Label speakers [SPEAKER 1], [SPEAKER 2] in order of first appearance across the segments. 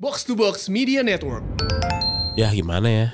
[SPEAKER 1] Box to Box Media Network.
[SPEAKER 2] Ya gimana ya?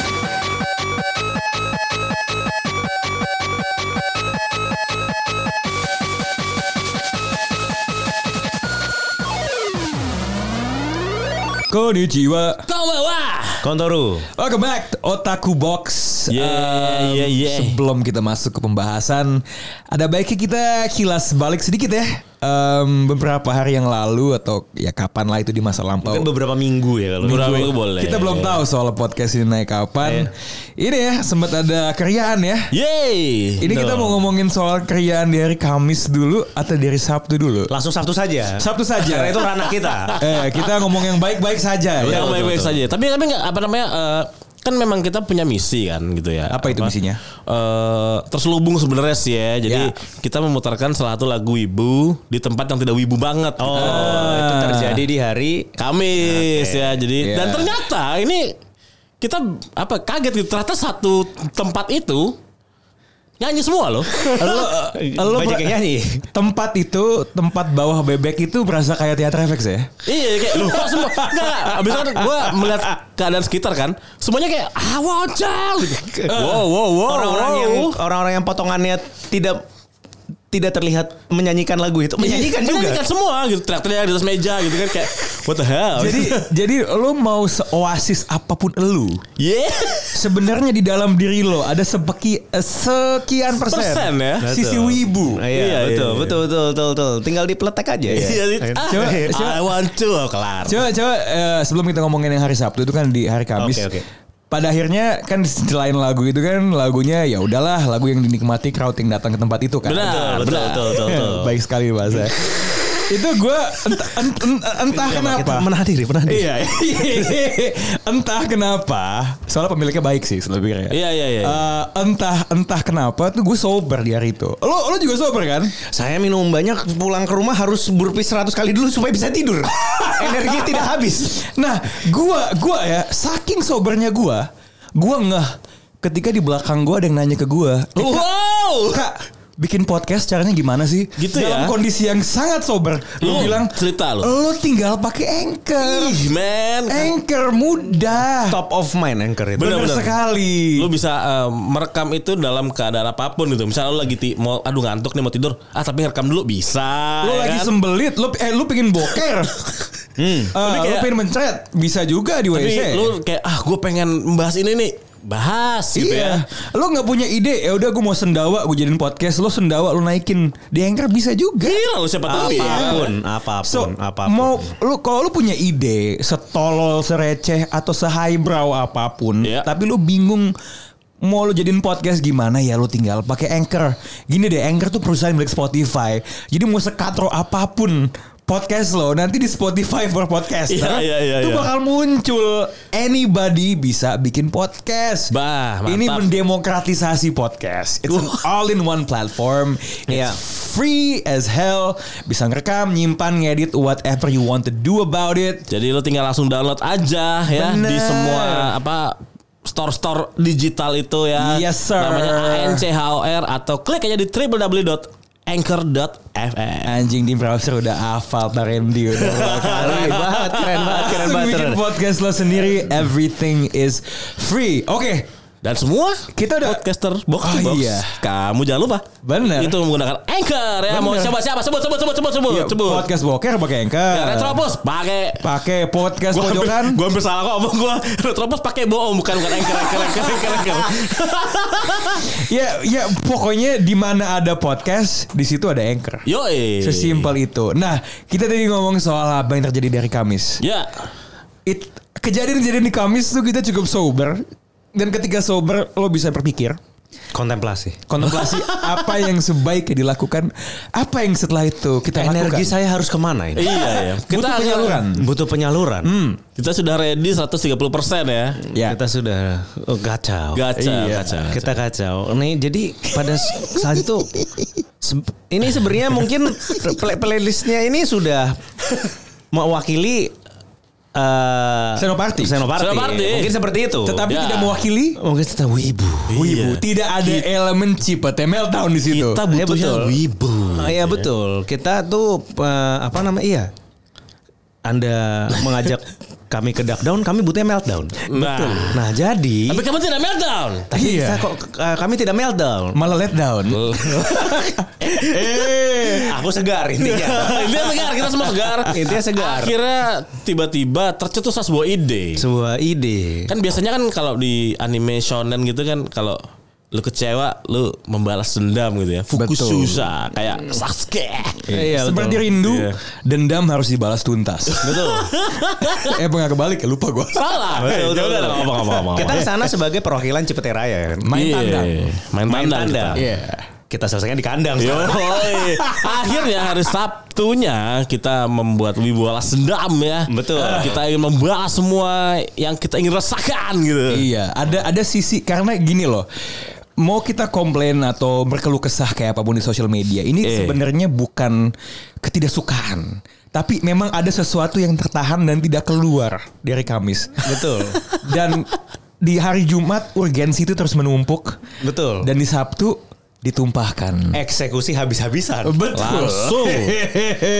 [SPEAKER 3] Konnichiwa
[SPEAKER 2] Konbawa. Kontoru.
[SPEAKER 3] Welcome back to Otaku Box Ehm,
[SPEAKER 2] Yeah, yeah, yeah.
[SPEAKER 3] Sebelum kita masuk ke pembahasan Ada baiknya kita kilas balik sedikit ya Em, Beberapa hari yang lalu Atau ya kapan lah itu di masa lampau
[SPEAKER 4] Mungkin beberapa minggu ya kalau
[SPEAKER 2] Oh. Beberapa minggu boleh. Iya.
[SPEAKER 3] Kita belum tahu soal podcast ini naik kapan Ini ya sempat ada keriaan ya
[SPEAKER 2] Yeay.
[SPEAKER 3] Ini kita mau ngomongin soal keriaan di hari Kamis dulu Atau di hari Sabtu dulu
[SPEAKER 4] langsung Sabtu saja.
[SPEAKER 3] Sabtu saja
[SPEAKER 4] Karena itu ranah kita.
[SPEAKER 3] Eh, kita ngomong yang baik-baik saja ya.
[SPEAKER 2] Yang baik-baik saja. Tapi tapi nggak apa namanya eh, kan memang kita punya misi kan gitu ya.
[SPEAKER 3] Apa itu misinya?
[SPEAKER 2] eh, terselubung sebenarnya sih ya. Jadi
[SPEAKER 3] Ya.
[SPEAKER 2] kita memutarkan salah satu lagu wibu di tempat yang tidak wibu banget.
[SPEAKER 4] Oh, itu terjadi di hari
[SPEAKER 2] Kamis ya. Jadi
[SPEAKER 4] Iya.
[SPEAKER 3] Ya.
[SPEAKER 2] dan ternyata ini kita apa kaget gitu ternyata satu tempat itu nyanyi semua loh.
[SPEAKER 3] Lo, lo
[SPEAKER 4] banyak yang nyanyi.
[SPEAKER 3] Tempat itu tempat bawah bebek itu berasa kayak teater efek ya.
[SPEAKER 2] Iya kayak lu kok semua enggak enggak. Abis itu gue melihat keadaan sekitar kan, semuanya kayak ah wajah gitu. Wow wow wow.
[SPEAKER 4] Eh, Orang-orang
[SPEAKER 2] wow.
[SPEAKER 4] yang orang-orang yang potongannya tidak tidak terlihat menyanyikan lagu itu menyanyikan
[SPEAKER 2] Iya,
[SPEAKER 4] juga.
[SPEAKER 2] menyanyikan semua gitu teriak-teriak di atas meja gitu kan kayak what the
[SPEAKER 4] Oh,
[SPEAKER 2] hell.
[SPEAKER 3] Jadi
[SPEAKER 4] iya.
[SPEAKER 3] jadi lo mau seoasis apapun elu.
[SPEAKER 4] iya.
[SPEAKER 2] yeah.
[SPEAKER 3] Sebenarnya di dalam diri lo ada sepeki, eh, sekian persen,
[SPEAKER 2] Persen ya.
[SPEAKER 3] sisi
[SPEAKER 4] Betul.
[SPEAKER 3] wibu.
[SPEAKER 4] Iya,
[SPEAKER 2] Iya,
[SPEAKER 4] betul,
[SPEAKER 2] iya.
[SPEAKER 4] betul, betul, betul, betul. Tinggal dipletek aja ya.
[SPEAKER 2] Iya, it- ah,
[SPEAKER 3] Coba- coba-
[SPEAKER 2] I want to oh, kelar.
[SPEAKER 3] Coba coba eh, sebelum kita ngomongin yang hari Sabtu itu kan di hari Kamis.
[SPEAKER 4] Oke, oke.
[SPEAKER 3] Pada akhirnya kan selain lagu itu kan lagunya ya udahlah lagu yang dinikmati crowd yang datang ke tempat itu kan. Eh,
[SPEAKER 2] Benar,
[SPEAKER 4] Betul, betul,
[SPEAKER 2] benar.
[SPEAKER 4] betul, betul, betul.
[SPEAKER 3] Baik sekali bahasa. itu gue entah, ent- ent- entah kenapa
[SPEAKER 4] Menahan diri, menahan diri.
[SPEAKER 3] Iya. entah kenapa, soalnya pemiliknya baik sih selebihnya.
[SPEAKER 2] Iya, iya, iya.
[SPEAKER 3] Eh, entah entah kenapa tuh gue sober di hari itu. Lo lo juga sober kan?
[SPEAKER 4] Saya minum banyak pulang ke rumah harus burpee 100 kali dulu supaya bisa tidur. Energi tidak habis.
[SPEAKER 3] Nah, gua gua ya saking sobernya gua, gua ngeh ketika di belakang gua ada yang nanya ke gua, "Eh,
[SPEAKER 2] Wow.
[SPEAKER 3] Kak, bikin podcast caranya gimana sih?
[SPEAKER 2] Gitu
[SPEAKER 3] Dalam
[SPEAKER 2] ya?
[SPEAKER 3] kondisi yang sangat sober. Lu
[SPEAKER 2] Lu
[SPEAKER 3] bilang
[SPEAKER 2] cerita lu.
[SPEAKER 3] Lu tinggal pakai anchor.
[SPEAKER 2] Ih, man.
[SPEAKER 3] Anchor mudah.
[SPEAKER 4] Top of mind anchor itu.
[SPEAKER 3] Bener
[SPEAKER 2] bener.
[SPEAKER 3] sekali.
[SPEAKER 2] Lu bisa eh, merekam itu dalam keadaan apapun gitu. Misalnya lu lagi ti- mau aduh ngantuk nih mau tidur, ah tapi rekam dulu bisa.
[SPEAKER 3] Lu
[SPEAKER 2] ya
[SPEAKER 3] lagi
[SPEAKER 2] kan?
[SPEAKER 3] sembelit, lu eh lu pingin boker. Hmm. lu
[SPEAKER 2] kayak-
[SPEAKER 3] pingin mencret, bisa juga di
[SPEAKER 2] Tapi
[SPEAKER 3] WC.
[SPEAKER 2] lu kayak ah gue pengen membahas ini nih bahas gitu
[SPEAKER 3] iya.
[SPEAKER 2] ya.
[SPEAKER 3] Lu nggak punya ide, ya udah gue mau sendawa, gue jadiin podcast, lu sendawa lu naikin. Di Anchor bisa juga.
[SPEAKER 2] Gila lu siapa tahu
[SPEAKER 3] Iya.
[SPEAKER 2] ya.
[SPEAKER 4] Apapun, apapun,
[SPEAKER 3] So,
[SPEAKER 4] apapun.
[SPEAKER 3] mau lu kalau lu punya ide setolol, sereceh atau sehighbrow apapun,
[SPEAKER 2] Iya.
[SPEAKER 3] tapi lu bingung mau lu jadiin podcast gimana ya lu tinggal pakai Anchor. Gini deh, Anchor tuh perusahaan milik Spotify. Jadi mau sekatro apapun podcast lo nanti di Spotify for podcast.
[SPEAKER 2] Iya, iya, iya,
[SPEAKER 3] Itu
[SPEAKER 2] iya.
[SPEAKER 3] bakal muncul anybody bisa bikin
[SPEAKER 4] Ah,
[SPEAKER 3] podcast.
[SPEAKER 2] Bah, mantap.
[SPEAKER 3] Ini mendemokratisasi podcast. It's an all in one platform. It's
[SPEAKER 4] Iya.
[SPEAKER 3] free as hell. Bisa ngerekam, nyimpan, ngedit whatever you want to do about it.
[SPEAKER 2] Jadi lu tinggal langsung download aja ya
[SPEAKER 3] Bener.
[SPEAKER 2] di semua apa store-store digital itu ya.
[SPEAKER 3] Yes, sir.
[SPEAKER 2] Namanya ANCHOR atau klik aja di www.anchor.fm.
[SPEAKER 3] Anjing di browser udah hafal Pak Randy udah berapa kali.
[SPEAKER 4] Keren banget, keren banget, keren
[SPEAKER 3] Langsung
[SPEAKER 4] banget.
[SPEAKER 3] bikin podcast lo sendiri. Everything is free. Oke.
[SPEAKER 2] Dan semua
[SPEAKER 3] Kita udah-
[SPEAKER 2] podcaster box to
[SPEAKER 3] Oh,
[SPEAKER 2] box.
[SPEAKER 3] iya.
[SPEAKER 2] Kamu jangan lupa.
[SPEAKER 3] Bener.
[SPEAKER 2] Itu menggunakan Anchor ya. Mau
[SPEAKER 3] Bener.
[SPEAKER 2] siapa siapa sebut sebut sebut sebut sebut.
[SPEAKER 3] Ya,
[SPEAKER 2] sebut.
[SPEAKER 3] podcast boker
[SPEAKER 2] Ya,
[SPEAKER 3] pakai Anchor.
[SPEAKER 2] Retropus pakai
[SPEAKER 3] Pakai podcast
[SPEAKER 2] gua hampir,
[SPEAKER 3] pojokan.
[SPEAKER 2] gua hampir salah kok omong gua Retropus pakai bohong bukan bukan anchor anchor anchor anchor, anchor.
[SPEAKER 3] Ya, ya pokoknya di mana ada podcast, di situ ada Anchor.
[SPEAKER 2] Yoi.
[SPEAKER 3] Sesimpel itu. Nah, kita tadi ngomong soal apa yang terjadi dari Kamis.
[SPEAKER 2] Ya.
[SPEAKER 3] It- Kejadian-kejadian di Kamis tuh kita cukup sober. Dan ketika sober, lo bisa berpikir.
[SPEAKER 4] Kontemplasi.
[SPEAKER 3] Kontemplasi apa yang sebaiknya dilakukan. Apa yang setelah itu kita
[SPEAKER 4] Energi
[SPEAKER 3] lakukan.
[SPEAKER 4] saya harus kemana ini?
[SPEAKER 2] Iya ya.
[SPEAKER 3] Butuh
[SPEAKER 2] Kita
[SPEAKER 3] penyaluran.
[SPEAKER 4] Butuh penyaluran.
[SPEAKER 2] Kita sudah ready 130% ya.
[SPEAKER 3] Ya.
[SPEAKER 4] Kita sudah oh, kacau.
[SPEAKER 2] Gacha,
[SPEAKER 4] Iya.
[SPEAKER 2] gacha, gacha.
[SPEAKER 4] Kita kacau. Nih jadi pada s- saat itu se- ini sebenarnya mungkin play- playlistnya ini sudah mewakili eh,
[SPEAKER 3] Senopati.
[SPEAKER 4] Senopati.
[SPEAKER 2] Senopati.
[SPEAKER 4] Mungkin seperti itu.
[SPEAKER 3] Tetapi
[SPEAKER 2] Ya.
[SPEAKER 3] tidak mewakili.
[SPEAKER 4] mungkin tetap wibu.
[SPEAKER 2] Iya,
[SPEAKER 3] Wibu. Tidak ada elemen cipete meltdown di situ.
[SPEAKER 2] Kita
[SPEAKER 4] Iya,
[SPEAKER 2] butuhnya
[SPEAKER 4] betul.
[SPEAKER 2] wibu.
[SPEAKER 4] Ah, Iya betul. Kita tuh eh, apa namanya? Iya. Anda mengajak
[SPEAKER 5] kami ke down, kami butuhnya meltdown.
[SPEAKER 2] Nah.
[SPEAKER 5] Betul. Nah, jadi
[SPEAKER 2] Tapi kamu tidak meltdown.
[SPEAKER 5] tapi
[SPEAKER 3] Iya.
[SPEAKER 5] kita kok eh, kami tidak meltdown.
[SPEAKER 3] Malah let down.
[SPEAKER 5] Aku segar intinya.
[SPEAKER 2] Intinya segar, kita semua segar.
[SPEAKER 5] Intinya segar.
[SPEAKER 2] Akhirnya tiba-tiba tercetuslah sebuah ide.
[SPEAKER 5] Sebuah ide.
[SPEAKER 2] Kan biasanya kan kalau di anime shonen gitu kan kalau lu kecewa lu membalas dendam gitu ya. Fukususa kayak Sasuke.
[SPEAKER 5] Iya, betul.
[SPEAKER 3] Seperti rindu,
[SPEAKER 2] Iya.
[SPEAKER 3] dendam harus dibalas tuntas.
[SPEAKER 5] Betul.
[SPEAKER 3] eh pengen kebalik ya lupa gue.
[SPEAKER 2] Salah.
[SPEAKER 5] Iya,
[SPEAKER 2] Ya
[SPEAKER 5] Betul, betul.
[SPEAKER 2] udah, ngomong, ngomong, ngomong.
[SPEAKER 5] Kita ke sana sebagai perwakilan Cipete Raya ya kan.
[SPEAKER 3] Main
[SPEAKER 2] Iya,
[SPEAKER 3] tandang.
[SPEAKER 2] Main
[SPEAKER 5] Main
[SPEAKER 2] tandang. Iya.
[SPEAKER 5] tandang. iya.
[SPEAKER 2] kita.
[SPEAKER 5] Kita selesainya di kandang.
[SPEAKER 2] Yoi. Akhirnya hari Sabtunya kita membuat Wibu balas dendam ya.
[SPEAKER 5] Betul.
[SPEAKER 2] Eh, Kita ingin membalas semua yang kita ingin rasakan gitu.
[SPEAKER 3] Iya, ada ada sisi karena gini loh. Mau kita komplain atau berkeluh kesah kayak apapun di sosial media, ini
[SPEAKER 2] Eh.
[SPEAKER 3] sebenarnya bukan ketidaksukaan. Tapi memang ada sesuatu yang tertahan dan tidak keluar dari Kamis.
[SPEAKER 5] Betul.
[SPEAKER 3] Dan di hari Jumat urgensi itu terus menumpuk.
[SPEAKER 5] Betul. Eh.
[SPEAKER 3] Dan di Sabtu ditumpahkan.
[SPEAKER 5] Eksekusi habis-habisan.
[SPEAKER 2] Langsung.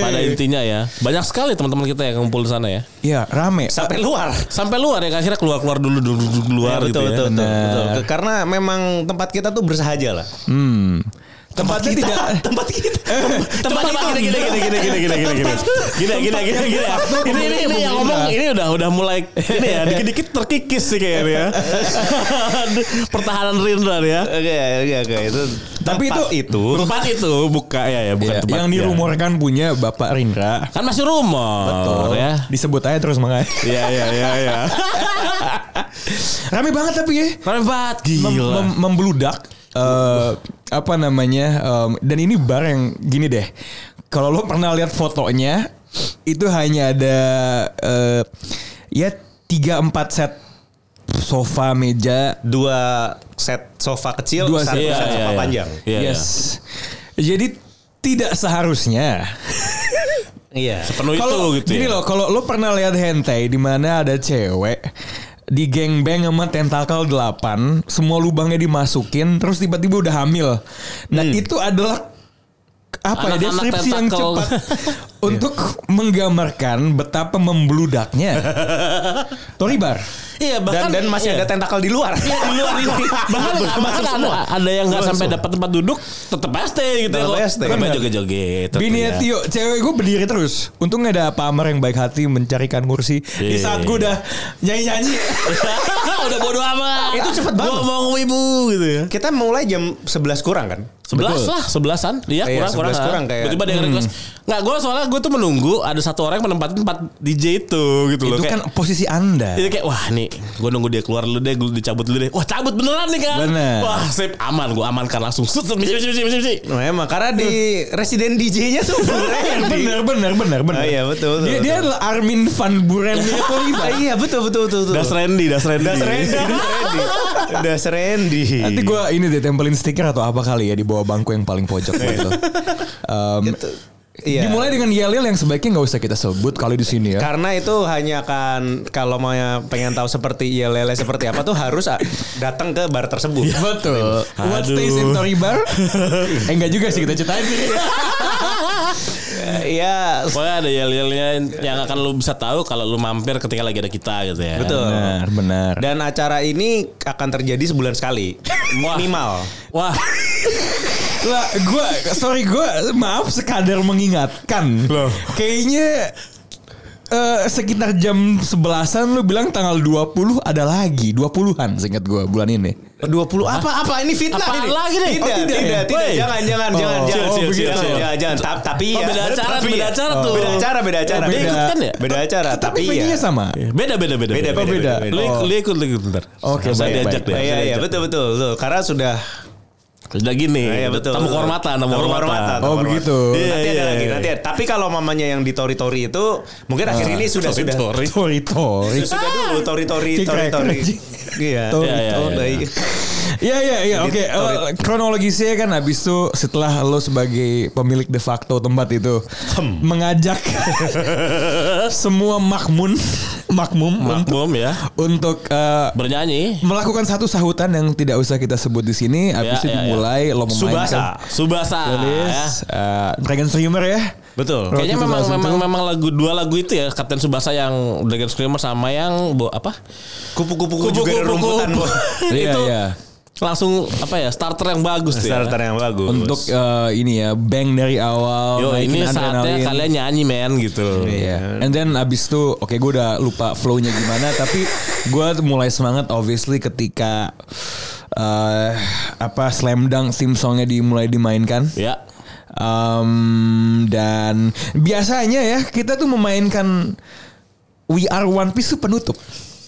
[SPEAKER 2] Pada intinya ya. Banyak sekali teman-teman kita yang ngumpul di sana ya.
[SPEAKER 3] Iya, rame.
[SPEAKER 5] Sampai luar.
[SPEAKER 2] Sampai luar ya akhirnya keluar-keluar dulu dulu dulu keluar
[SPEAKER 5] Ya, betul,
[SPEAKER 2] gitu
[SPEAKER 5] betul,
[SPEAKER 2] ya.
[SPEAKER 5] betul, betul.
[SPEAKER 3] Benar.
[SPEAKER 5] Ke- Karena memang tempat kita tuh bersahaja lah.
[SPEAKER 3] Hmm. Tempatnya
[SPEAKER 5] kita,
[SPEAKER 3] tidak
[SPEAKER 5] tempat kita. tempat
[SPEAKER 2] Tempat
[SPEAKER 5] kita
[SPEAKER 2] gini gini gini gini gini gini gini gini gini gini gini ini ini ini yang ngomong ini udah udah mulai ini ya dikit-dikit terkikis sih kayaknya ya. pertahanan Rindra ya
[SPEAKER 5] Oke, oke, oke. Itu
[SPEAKER 3] Tapi
[SPEAKER 5] tempat
[SPEAKER 3] itu-
[SPEAKER 2] Tempat itu buka ya ya bukan
[SPEAKER 3] Iya,
[SPEAKER 2] tempat
[SPEAKER 3] yang
[SPEAKER 2] ya.
[SPEAKER 3] dirumorkan punya Bapak Rindra.
[SPEAKER 2] Kan masih rumor ya.
[SPEAKER 3] Oh. Disebut aja terus makanya.
[SPEAKER 2] Iya iya iya iya.
[SPEAKER 3] Rame banget tapi ya.
[SPEAKER 2] Keren banget
[SPEAKER 3] Mem-
[SPEAKER 2] gila.
[SPEAKER 3] mem- membludak. Eh, apa namanya? em, dan ini bar yang gini deh. Kalau lo pernah lihat fotonya, itu hanya ada eh, ya tiga empat set sofa meja.
[SPEAKER 5] dua set sofa kecil,
[SPEAKER 3] Dua
[SPEAKER 5] satu
[SPEAKER 3] set,
[SPEAKER 2] iya,
[SPEAKER 5] set
[SPEAKER 2] iya,
[SPEAKER 5] sofa
[SPEAKER 2] iya.
[SPEAKER 5] panjang.
[SPEAKER 2] Iya, iya.
[SPEAKER 3] yes. Jadi tidak seharusnya.
[SPEAKER 5] Iya.
[SPEAKER 2] Penuh itu
[SPEAKER 3] Kalau
[SPEAKER 2] gitu.
[SPEAKER 3] gini
[SPEAKER 2] ya.
[SPEAKER 3] loh, kalau lo pernah lihat hentai di mana ada cewek di gangbang sama tentakel 8, semua lubangnya dimasukin, terus tiba-tiba udah hamil. Nah itu adalah apa
[SPEAKER 2] Hmm.
[SPEAKER 3] ya
[SPEAKER 2] Anak-anak
[SPEAKER 3] deskripsi yang
[SPEAKER 2] tentakel. Iya.
[SPEAKER 3] cepat untuk menggambarkan betapa membludaknya. Toribar.
[SPEAKER 2] Iya
[SPEAKER 5] Dan
[SPEAKER 2] bahkan
[SPEAKER 5] dan masih ada tentakel di luar.
[SPEAKER 2] Iya, di luar ini. bahkan
[SPEAKER 5] Iya.
[SPEAKER 2] bahkan ada, ada yang nggak sampai dapat tempat duduk tetap pasti gitu
[SPEAKER 5] Tetep
[SPEAKER 2] kok.
[SPEAKER 5] pasti.
[SPEAKER 2] Sampai
[SPEAKER 5] Bener.
[SPEAKER 2] joget-joget tetep
[SPEAKER 3] Bini
[SPEAKER 2] ya.
[SPEAKER 3] Tio, cewek gue berdiri terus. Untung ada pamer yang baik hati mencarikan kursi.
[SPEAKER 2] Iya.
[SPEAKER 3] Di saat gue udah nyanyi-nyanyi.
[SPEAKER 2] udah bodo amat
[SPEAKER 5] Itu cepet banget.
[SPEAKER 2] Gua mau wibu gitu ya
[SPEAKER 5] Kita mulai jam 11 kurang kan?
[SPEAKER 2] Sebelas lah, sebelasan. Iya,
[SPEAKER 5] Iya,
[SPEAKER 2] kurang, kurang.
[SPEAKER 5] sebelas
[SPEAKER 2] ah.
[SPEAKER 5] kurang kayak-
[SPEAKER 2] Tiba-tiba ada yang request. Nggak, gue soalnya gue tuh menunggu ada satu orang yang menempati tempat DJ itu gitu loh.
[SPEAKER 3] Itu
[SPEAKER 2] kayak, Iya,
[SPEAKER 3] kan posisi anda.
[SPEAKER 2] itu kayak wah nih gue nunggu dia keluar dulu deh gue dicabut dulu deh wah cabut beneran nih kan
[SPEAKER 3] Bener.
[SPEAKER 2] wah sip aman gue amankan langsung sut sut misi misi misi misi
[SPEAKER 5] Nah, emang karena di resident DJ-nya tuh
[SPEAKER 3] Iya, bener bener bener bener.
[SPEAKER 5] Ah, iya, betul, betul,
[SPEAKER 3] Dia,
[SPEAKER 5] betul.
[SPEAKER 3] dia adalah Armin van Buren ya
[SPEAKER 5] Ah, iya betul betul betul betul.
[SPEAKER 2] das Randy das Randy
[SPEAKER 5] Das Randy. Das Randy.
[SPEAKER 3] Nanti gue ini deh tempelin stiker atau apa kali ya di bawah bangku yang paling pojok gitu. Em,
[SPEAKER 5] Iya.
[SPEAKER 3] Dimulai dengan yel-yel yang sebaiknya nggak usah kita sebut kali di sini ya.
[SPEAKER 5] Karena itu hanya akan kalau mau pengen tahu seperti ILL seperti apa tuh harus ah, datang ke bar tersebut.
[SPEAKER 3] Iya, Betul. What
[SPEAKER 2] Aduh.
[SPEAKER 3] stays in Tory Bar? eh enggak juga sih kita ceritain.
[SPEAKER 5] Eh, Iya.
[SPEAKER 2] Pokoknya ada yel-yelnya yang akan lu bisa tahu kalau lu mampir ketika lagi ada kita gitu ya.
[SPEAKER 5] Betul.
[SPEAKER 3] benar, benar.
[SPEAKER 5] Dan acara ini akan terjadi sebulan sekali. Minimal.
[SPEAKER 2] Wah,
[SPEAKER 3] Lah, gue sorry gue maaf sekadar mengingatkan.
[SPEAKER 2] Loh.
[SPEAKER 3] Kayaknya eh, sekitar jam sebelasan lu bilang tanggal 20 ada lagi 20-an seingat gue bulan ini.
[SPEAKER 5] 20 apa apa ini fitnah
[SPEAKER 2] Apaan
[SPEAKER 5] ini.
[SPEAKER 2] lagi nih? Oh,
[SPEAKER 5] Tidak, tidak,
[SPEAKER 2] tidak
[SPEAKER 5] tidak,
[SPEAKER 2] ya? Woi.
[SPEAKER 5] Jangan, jangan,
[SPEAKER 3] Oh.
[SPEAKER 5] jangan, jangan.
[SPEAKER 2] Chill, chill,
[SPEAKER 5] begitu.
[SPEAKER 2] chill, chill.
[SPEAKER 5] Jangan, jangan. Ta- Tapi
[SPEAKER 2] Oh,
[SPEAKER 5] ya.
[SPEAKER 2] beda acara,
[SPEAKER 5] Tapi
[SPEAKER 2] beda
[SPEAKER 5] ya.
[SPEAKER 2] acara tuh.
[SPEAKER 5] Beda acara, beda acara.
[SPEAKER 2] Dia ikut kan ya?
[SPEAKER 5] Beda acara, tapi
[SPEAKER 3] Tapi venue-nya
[SPEAKER 5] ya.
[SPEAKER 3] sama.
[SPEAKER 2] beda beda beda.
[SPEAKER 5] Beda, beda, beda, Oh. beda.
[SPEAKER 2] Lu ikut, lu ikut, lu ikut bentar.
[SPEAKER 3] Oke,
[SPEAKER 2] Saya
[SPEAKER 3] baik,
[SPEAKER 2] diajak
[SPEAKER 3] baik.
[SPEAKER 2] deh.
[SPEAKER 5] Iya,
[SPEAKER 2] saya
[SPEAKER 5] iya,
[SPEAKER 2] diajak.
[SPEAKER 5] betul, betul, betul. Karena sudah
[SPEAKER 2] Sudah gini.
[SPEAKER 5] Iya, betul.
[SPEAKER 2] Tamu kehormatan, tamu
[SPEAKER 5] Tamu
[SPEAKER 2] kehormatan.
[SPEAKER 5] kehormatan.
[SPEAKER 3] Oh, begitu.
[SPEAKER 2] Iya,
[SPEAKER 5] nanti ada
[SPEAKER 2] iya,
[SPEAKER 5] lagi,
[SPEAKER 2] iya.
[SPEAKER 5] nanti ada. Tapi kalau mamanya yang di tori-tori itu mungkin akhir ini sudah sudah
[SPEAKER 2] Sorry.
[SPEAKER 3] Tori Tori.
[SPEAKER 5] sudah dulu
[SPEAKER 3] Ah,
[SPEAKER 5] tori-tori
[SPEAKER 3] Cek
[SPEAKER 5] tori-tori.
[SPEAKER 3] rekan, cek.
[SPEAKER 5] Iya.
[SPEAKER 3] Tori,
[SPEAKER 2] Iya, iya,
[SPEAKER 5] Oh,
[SPEAKER 2] iya.
[SPEAKER 5] baik.
[SPEAKER 3] Iya iya iya
[SPEAKER 5] Jadi,
[SPEAKER 3] oke eh,
[SPEAKER 5] Tori-
[SPEAKER 3] kronologisnya kan habis itu setelah lo sebagai pemilik de facto tempat itu mengajak semua makmun makmum untuk,
[SPEAKER 2] Makmum ya.
[SPEAKER 3] untuk eh,
[SPEAKER 2] Bernyanyi.
[SPEAKER 3] melakukan satu sahutan yang tidak usah kita sebut di sini habis
[SPEAKER 2] Ya, ya,
[SPEAKER 3] itu
[SPEAKER 2] ya.
[SPEAKER 5] Ah.
[SPEAKER 3] dimulai lo memainkan
[SPEAKER 5] Subasa.
[SPEAKER 2] Subasa.
[SPEAKER 3] Tulis,
[SPEAKER 2] ya.
[SPEAKER 3] eh, Dragon Streamer ya
[SPEAKER 2] Betul.
[SPEAKER 3] Rocky
[SPEAKER 2] Kayaknya memang
[SPEAKER 3] 2000
[SPEAKER 2] memang
[SPEAKER 3] itu.
[SPEAKER 2] memang lagu dua lagu itu ya Captain Subasa yang Dragon Screamer sama yang bo, apa?
[SPEAKER 5] Kupu-kupu juga ada rumputan. Bu.
[SPEAKER 3] Iya,
[SPEAKER 2] itu
[SPEAKER 3] iya.
[SPEAKER 2] langsung apa ya starter yang bagus tuh. ya.
[SPEAKER 5] Starter yang bagus.
[SPEAKER 3] Untuk eh, ini ya bank dari awal.
[SPEAKER 2] Yo
[SPEAKER 3] Oh, naikin
[SPEAKER 2] ini saatnya
[SPEAKER 3] adrenalin.
[SPEAKER 2] kalian nyanyi men gitu.
[SPEAKER 3] Iya. And then abis itu, oke gue udah lupa flow-nya gimana, tapi gue mulai semangat obviously ketika eh apa slam dunk theme songnya dimulai dimainkan.
[SPEAKER 2] Ya.
[SPEAKER 3] Um, dan biasanya ya kita tuh memainkan We Are One Piece tuh penutup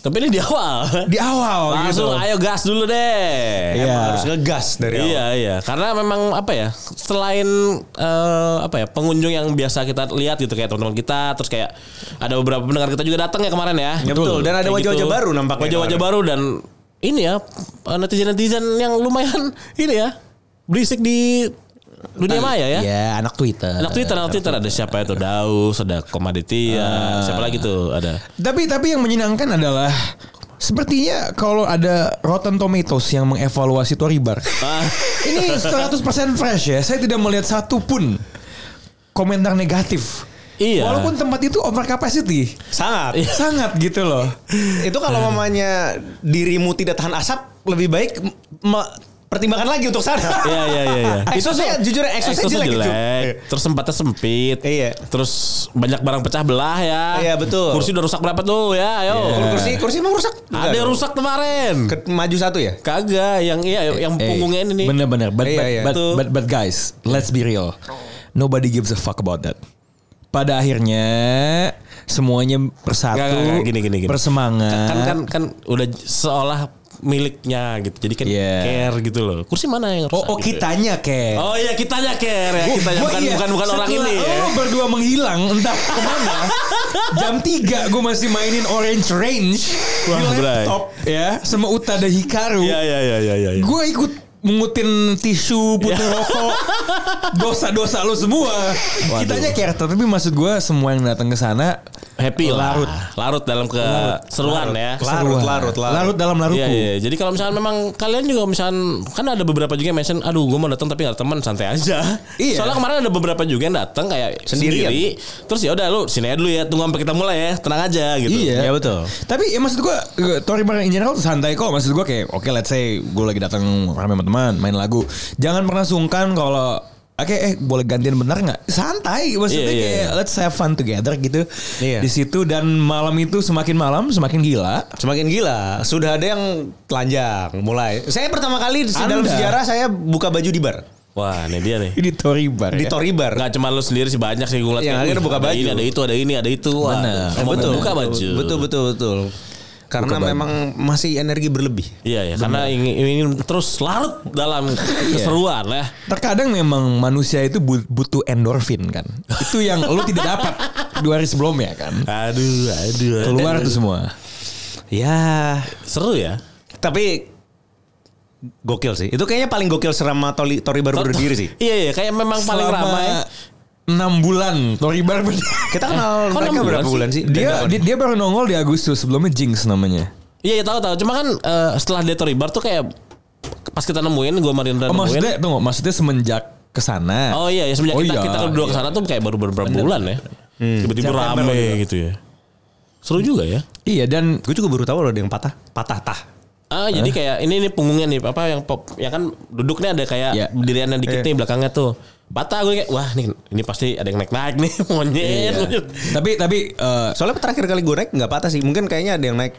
[SPEAKER 2] Tapi ini di awal.
[SPEAKER 3] di awal
[SPEAKER 2] Langsung
[SPEAKER 3] gitu.
[SPEAKER 2] ayo gas dulu deh.
[SPEAKER 3] Iya.
[SPEAKER 5] harus ngegas dari
[SPEAKER 2] Iya iya karena memang apa ya selain eh, apa ya pengunjung yang biasa kita lihat gitu kayak teman-teman kita terus kayak ada beberapa pendengar kita juga datang ya kemarin ya.
[SPEAKER 5] Ya, betul. Dan
[SPEAKER 2] Kayak
[SPEAKER 5] ada
[SPEAKER 2] gitu.
[SPEAKER 5] wajah-wajah baru nampaknya
[SPEAKER 2] Wajah-wajah
[SPEAKER 5] kemarin.
[SPEAKER 2] baru dan ini ya netizen-netizen yang lumayan ini ya berisik di dunia maya
[SPEAKER 5] Iya.
[SPEAKER 2] ya.
[SPEAKER 3] anak Twitter.
[SPEAKER 2] Anak Twitter, anak Twitter ada siapa itu Daus, ada Komaditia, siapa lagi tuh ada.
[SPEAKER 3] Tapi tapi yang menyenangkan adalah sepertinya kalau ada Rotten Tomatoes yang mengevaluasi Toribar.
[SPEAKER 2] Ah,
[SPEAKER 3] Ini 100% fresh ya. Saya tidak melihat satu pun komentar negatif.
[SPEAKER 2] iya.
[SPEAKER 3] Walaupun tempat itu over capacity.
[SPEAKER 5] Sangat.
[SPEAKER 3] Sangat gitu loh.
[SPEAKER 5] itu kalau mamanya dirimu tidak tahan asap lebih baik me- pertimbangkan lagi untuk sana.
[SPEAKER 2] Iya iya iya iya.
[SPEAKER 5] Exosnya jujur Iya. eksosnya
[SPEAKER 2] Exosnya
[SPEAKER 5] jelek,
[SPEAKER 2] jelek,
[SPEAKER 5] itu.
[SPEAKER 2] terus sempatnya sempit.
[SPEAKER 5] Iya.
[SPEAKER 2] Terus banyak barang pecah belah ya.
[SPEAKER 5] Iya, betul. Iya.
[SPEAKER 2] Kursi udah rusak berapa tuh ya? Ayo.
[SPEAKER 5] Oh, Kursi kursi emang rusak.
[SPEAKER 2] Ada yang
[SPEAKER 5] Bukan.
[SPEAKER 2] rusak kemarin.
[SPEAKER 5] Ke- maju satu ya?
[SPEAKER 2] Kagak yang iya yang
[SPEAKER 3] eh,
[SPEAKER 2] punggungnya ini nih.
[SPEAKER 3] Bener-bener. But,
[SPEAKER 5] Iya,
[SPEAKER 3] but,
[SPEAKER 5] iya.
[SPEAKER 3] but, but, but guys, let's be real. Nobody gives a fuck about that. Pada akhirnya semuanya bersatu,
[SPEAKER 2] Nggak, nggak, nggak, gini, gini, gini.
[SPEAKER 3] bersemangat.
[SPEAKER 2] Kan kan kan udah seolah miliknya gitu. Jadi kan
[SPEAKER 3] Iya.
[SPEAKER 2] care gitu loh. Kursi mana yang rusak?
[SPEAKER 3] Oh, oh
[SPEAKER 2] gitu?
[SPEAKER 3] kitanya ke.
[SPEAKER 2] Oh iya kitanya care ya. Kitanya
[SPEAKER 3] Gua
[SPEAKER 2] bukan
[SPEAKER 3] iya,
[SPEAKER 2] bukan bukan orang
[SPEAKER 3] setelah
[SPEAKER 2] ini ya.
[SPEAKER 3] lo berdua menghilang entah kemana. jam 3 gue masih mainin Orange Range di
[SPEAKER 2] Wah, Bray.
[SPEAKER 3] laptop ya sama Utada Hikaru.
[SPEAKER 2] Iya iya iya iya iya.
[SPEAKER 3] Gue ikut mengutin tisu putih rokok dosa-dosa lo semua kitanya character tapi maksud gue semua yang datang ke sana
[SPEAKER 2] Happy lah.
[SPEAKER 3] Larut.
[SPEAKER 2] Larut dalam keseruan ya.
[SPEAKER 5] Larut,
[SPEAKER 3] seruan.
[SPEAKER 5] larut, larut.
[SPEAKER 3] larut dalam larutku
[SPEAKER 2] Iya, iya. Jadi kalau misalnya memang kalian juga misalnya kan ada beberapa juga yang mention, aduh gue mau datang tapi gak ada teman, santai aja.
[SPEAKER 3] Iya.
[SPEAKER 2] Soalnya kemarin ada beberapa juga yang datang kayak
[SPEAKER 5] Sendirian.
[SPEAKER 2] sendiri. Terus ya udah lu sini aja dulu ya, tunggu sampai kita mulai ya, tenang aja gitu.
[SPEAKER 3] Iya betul. Tapi ya maksud gua eh, Tori Bar in general tuh santai kok. Maksud gua kayak oke let's say gua lagi datang rame sama teman main lagu. Jangan pernah sungkan kalau Oke, eh boleh gantian bener nggak? Santai, maksudnya
[SPEAKER 2] Iya, iya,
[SPEAKER 3] kayak let's have fun together gitu
[SPEAKER 5] Iya.
[SPEAKER 3] di situ dan malam itu semakin malam semakin gila.
[SPEAKER 5] Semakin gila, sudah ada yang telanjang mulai. Saya pertama kali di dalam
[SPEAKER 3] Anda.
[SPEAKER 5] sejarah saya buka baju di bar,
[SPEAKER 2] Wah, ini dia nih.
[SPEAKER 3] Ini Tori
[SPEAKER 2] Iya.
[SPEAKER 3] Bar.
[SPEAKER 5] di
[SPEAKER 3] ya.
[SPEAKER 5] Tori Bar.
[SPEAKER 2] Gak cuma lu sendiri sih banyak sih gue ngeliat
[SPEAKER 5] Yang
[SPEAKER 2] kayak,
[SPEAKER 5] Iya, akhirnya
[SPEAKER 2] "Wih,
[SPEAKER 5] buka
[SPEAKER 2] ada
[SPEAKER 5] baju."
[SPEAKER 2] ini ada itu ada ini ada itu Wah,
[SPEAKER 3] Benar.
[SPEAKER 2] kamu
[SPEAKER 5] betul,
[SPEAKER 2] buka baju
[SPEAKER 5] Betul, betul, betul. Karena memang masih energi berlebih.
[SPEAKER 2] iya ya karena ingin, ingin terus larut dalam
[SPEAKER 5] Iya.
[SPEAKER 2] keseruan ya
[SPEAKER 3] Terkadang memang manusia itu bu- butuh endorfin kan. Itu yang lu tidak dapat dua hari sebelumnya kan.
[SPEAKER 2] aduh aduh aduh.
[SPEAKER 3] Keluar tuh semua.
[SPEAKER 5] Ya,
[SPEAKER 2] seru ya
[SPEAKER 5] tapi gokil sih. Itu kayaknya paling gokil selama Tori, Tori Bar berdiri sih.
[SPEAKER 2] iya iya kayak memang paling ramai
[SPEAKER 3] 6 bulan Tori Bar berdiri.
[SPEAKER 5] Kita kenal
[SPEAKER 2] kok
[SPEAKER 5] mereka
[SPEAKER 2] enam bulan
[SPEAKER 5] berapa
[SPEAKER 2] sih?
[SPEAKER 5] bulan sih?
[SPEAKER 3] Dia,
[SPEAKER 5] Dan-
[SPEAKER 3] dia dia baru nongol di Agustus sebelumnya Jinx namanya.
[SPEAKER 2] Iya, iya tahu tahu. Cuma kan eh, setelah dia teribar tuh kayak pas kita nemuin gue Marindra
[SPEAKER 3] Oh,
[SPEAKER 2] nemuin.
[SPEAKER 3] maksudnya tunggu, maksudnya semenjak ke sana.
[SPEAKER 2] Oh iya, ya semenjak
[SPEAKER 3] Oh,
[SPEAKER 2] kita
[SPEAKER 3] iya,
[SPEAKER 2] kita kedua
[SPEAKER 3] iya.
[SPEAKER 2] ke sana tuh kayak baru beberapa bulan ya. Tiba-tiba rame gitu ya. Seru juga ya.
[SPEAKER 3] Iya dan
[SPEAKER 5] Gue juga baru tahu loh ada yang patah. Patah tah.
[SPEAKER 2] Ah, jadi kayak ini nih punggungnya nih apa yang pop yang kan duduknya ada kayak
[SPEAKER 3] Iya.
[SPEAKER 2] berdiriannya dikit nih belakangnya tuh. Patah gue kayak wah nih ini pasti ada yang naik-naik nih monyet.
[SPEAKER 3] Iya.
[SPEAKER 2] monyet.
[SPEAKER 3] tapi tapi eh,
[SPEAKER 5] Soalnya terakhir kali gue naik nggak patah sih. Mungkin kayaknya ada yang naik.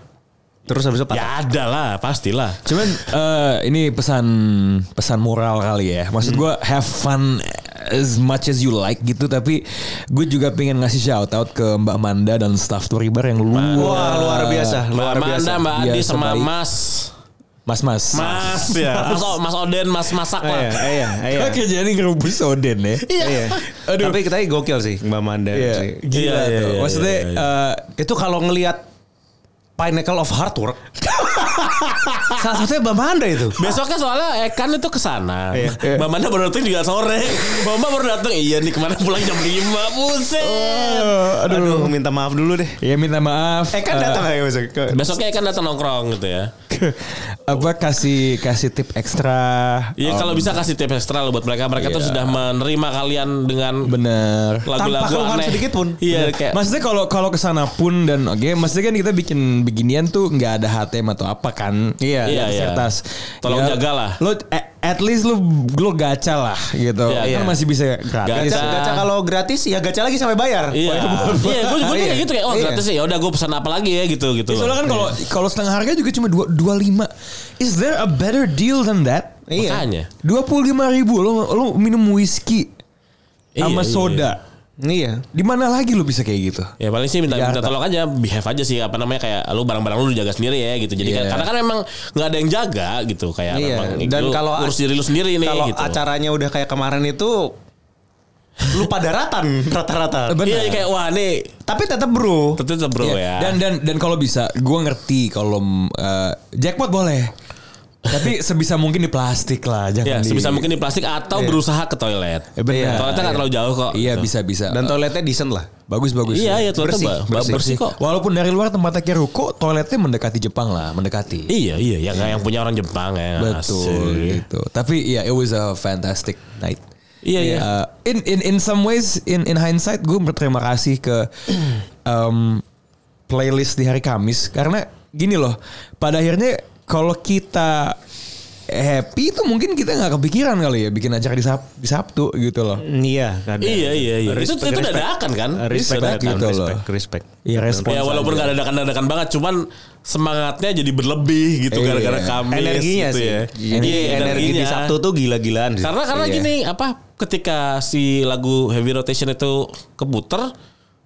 [SPEAKER 5] Terus habis
[SPEAKER 2] Ya
[SPEAKER 5] itu patah.
[SPEAKER 2] ada lah, pastilah.
[SPEAKER 3] cuman eh, ini pesan pesan moral kali ya. Maksud gua have fun as much as you like gitu tapi gue juga pengen ngasih shout out ke Mbak Manda dan staff Tori Bar yang luar
[SPEAKER 5] Ya. Wah luar biasa.
[SPEAKER 2] Mbak
[SPEAKER 5] Luar biasa.
[SPEAKER 2] Amanda, Mbak
[SPEAKER 3] Biasa
[SPEAKER 2] Adi sama
[SPEAKER 3] baik.
[SPEAKER 2] Mas
[SPEAKER 3] mas-mas.
[SPEAKER 2] Mas ya. Mas, Mas Oden, Mas Masak
[SPEAKER 5] Iya,
[SPEAKER 2] lah.
[SPEAKER 5] iya, iya.
[SPEAKER 3] Oke jadi ngerebus Oden ya.
[SPEAKER 5] Iya. Tapi kita gokil sih Mbak Manda sih.
[SPEAKER 3] Iya, gila
[SPEAKER 2] Iya, iya,
[SPEAKER 3] tuh.
[SPEAKER 2] iya,
[SPEAKER 3] Maksudnya
[SPEAKER 2] iya,
[SPEAKER 3] eh,
[SPEAKER 5] Itu kalau ngelihat Pinnacle of Hard Work Salah satunya Mbak Manda itu.
[SPEAKER 2] Besoknya soalnya Ekan itu kesana Mbak Manda baru datang juga sore Mbak Manda baru datang Iya nih kemana pulang jam 5 Buset
[SPEAKER 5] Oh. aduh. minta maaf dulu deh.
[SPEAKER 3] Ya minta maaf.
[SPEAKER 5] Eh kan datang ya besok. Ke-
[SPEAKER 2] Besoknya Ekan datang nongkrong gitu ya
[SPEAKER 3] Eh, apa kasih kasih tip ekstra.
[SPEAKER 2] Iya kalau bisa kasih tips ekstra loh buat mereka Mereka tuh sudah menerima kalian dengan
[SPEAKER 3] Bener.
[SPEAKER 2] Lagu-lagu
[SPEAKER 5] Tanpa keluhan
[SPEAKER 2] aneh
[SPEAKER 5] sedikit pun.
[SPEAKER 2] Iya kayak
[SPEAKER 3] Maksudnya kalau kalau kesana pun dan oke, maksudnya kan kita bikin beginian tuh nggak ada HTM atau apa kan? Iya,
[SPEAKER 2] Iya, iya.
[SPEAKER 3] Kertas.
[SPEAKER 2] Tolong jagalah.
[SPEAKER 3] Ya, Lo a- at least lo lo gacha lah gitu.
[SPEAKER 2] Iya,
[SPEAKER 3] kan
[SPEAKER 2] iya.
[SPEAKER 3] masih bisa gratis.
[SPEAKER 5] Gacha,
[SPEAKER 2] Gacha.
[SPEAKER 5] gacha kalau gratis ya gacha lagi sampai bayar.
[SPEAKER 2] Iya, iya, gue juga kayak
[SPEAKER 3] Iya.
[SPEAKER 2] gitu kayak oh
[SPEAKER 3] Iya.
[SPEAKER 2] gratis ya, udah gue pesan apa lagi ya gitu gitu.
[SPEAKER 3] Ya, soalnya kan kalau kalau setengah harga juga cuma dua dua lima. Is there a better deal than that?
[SPEAKER 2] Makanya.
[SPEAKER 3] Dua puluh lima ribu lo lo minum whisky
[SPEAKER 2] Iya, iya,
[SPEAKER 3] sama soda.
[SPEAKER 5] Iya.
[SPEAKER 3] Di mana lagi lo bisa kayak gitu?
[SPEAKER 2] Ya paling sih minta,
[SPEAKER 3] Jakarta.
[SPEAKER 2] minta tolong aja behave aja sih apa namanya kayak lu barang-barang lu jaga sendiri ya gitu. Jadi
[SPEAKER 3] Iya.
[SPEAKER 2] kayak- karena kan memang nggak ada yang jaga gitu kayak
[SPEAKER 5] Iya.
[SPEAKER 2] memang
[SPEAKER 5] Dan
[SPEAKER 2] lu
[SPEAKER 5] kalau
[SPEAKER 2] urus diri lu sendiri nih
[SPEAKER 5] Kalau
[SPEAKER 2] gitu.
[SPEAKER 5] acaranya udah kayak kemarin itu lupa daratan rata-rata.
[SPEAKER 3] Benar.
[SPEAKER 2] Iya kayak wah nih
[SPEAKER 5] Tapi tetap bro.
[SPEAKER 2] tentu tetep bro
[SPEAKER 3] Iya.
[SPEAKER 2] ya.
[SPEAKER 3] Dan dan dan kalau bisa, gue ngerti kalau mm, eh, jackpot boleh, tapi sebisa mungkin di plastik lah, jangan
[SPEAKER 2] ya
[SPEAKER 3] di.
[SPEAKER 2] sebisa mungkin di plastik atau berusaha ke toilet.
[SPEAKER 3] Iya.
[SPEAKER 2] Iya,
[SPEAKER 3] Eh, benar.
[SPEAKER 2] Toiletnya nggak terlalu jauh kok.
[SPEAKER 3] Iya
[SPEAKER 2] gitu.
[SPEAKER 3] bisa bisa.
[SPEAKER 5] Dan toiletnya decent lah.
[SPEAKER 3] bagus bagus.
[SPEAKER 2] Iya iya toiletnya
[SPEAKER 5] Bersih,
[SPEAKER 2] ba- ba- bersih, kok.
[SPEAKER 3] Walaupun dari luar tempatnya kayak ruko, toiletnya mendekati Jepang lah, mendekati.
[SPEAKER 2] Iya iya ya nggak yang punya orang Jepang ya.
[SPEAKER 3] Betul
[SPEAKER 2] Asik.
[SPEAKER 3] gitu. Tapi ya it was a fantastic night.
[SPEAKER 2] Iya, iya.
[SPEAKER 3] Uh, in in in some ways in in hindsight gue berterima kasih ke um, playlist di hari Kamis karena gini loh pada akhirnya kalau kita happy itu mungkin kita nggak kepikiran kali ya bikin acara di, Sab- di Sabtu gitu loh.
[SPEAKER 5] Iya.
[SPEAKER 2] Iya iya iya. Itu itu dadakan kan.
[SPEAKER 5] Respect,
[SPEAKER 3] Respect gitu loh.
[SPEAKER 5] respect, respect.
[SPEAKER 3] Ya respons.
[SPEAKER 2] Ya walaupun gak dadakan-dadakan banget cuman semangatnya jadi berlebih gitu
[SPEAKER 3] Iya.
[SPEAKER 2] gara-gara Kamis
[SPEAKER 5] Energinya
[SPEAKER 2] gitu
[SPEAKER 5] sih.
[SPEAKER 2] ya.
[SPEAKER 5] Iya, energi di Sabtu tuh gila-gilaan sih.
[SPEAKER 2] Karena kan- karena
[SPEAKER 3] Iya.
[SPEAKER 2] gini apa ketika si lagu Heavy Rotation itu keputer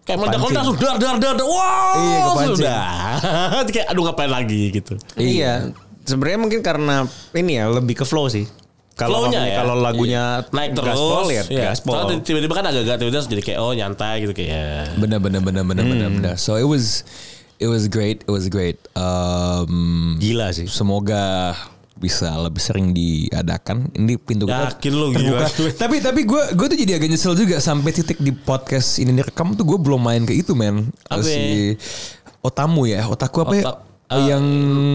[SPEAKER 2] kayak meledak-ledak langsung dar dar dar dar. Wow,
[SPEAKER 3] Iya, kepancing.
[SPEAKER 2] sudah. kayak aduh ngapain lagi gitu.
[SPEAKER 5] Iya. Sebenarnya mungkin karena ini ya lebih ke flow sih. Kalau
[SPEAKER 2] Flow-nya ya.
[SPEAKER 5] kalau lagunya
[SPEAKER 2] Naik terus.
[SPEAKER 5] gaspol ya,
[SPEAKER 2] Iya.
[SPEAKER 5] gaspol.
[SPEAKER 2] Soalnya tiba-tiba kan agak-agak tiba-tiba jadi kayak oh nyantai gitu kayak. ya.
[SPEAKER 3] Bener bener bener bener bener bener.
[SPEAKER 2] Hmm.
[SPEAKER 3] So it was it was great it was great. Um,
[SPEAKER 5] Gila sih.
[SPEAKER 3] Semoga bisa lebih sering diadakan. Ini pintu kita
[SPEAKER 2] Yakin lu gila.
[SPEAKER 3] terbuka. tapi tapi gue gue tuh jadi agak nyesel juga sampai titik di podcast ini direkam tuh gue belum main ke itu men.
[SPEAKER 2] Apa ya?
[SPEAKER 3] Si Otamu ya, otaku apa ya?
[SPEAKER 2] Otak- eh,
[SPEAKER 3] yang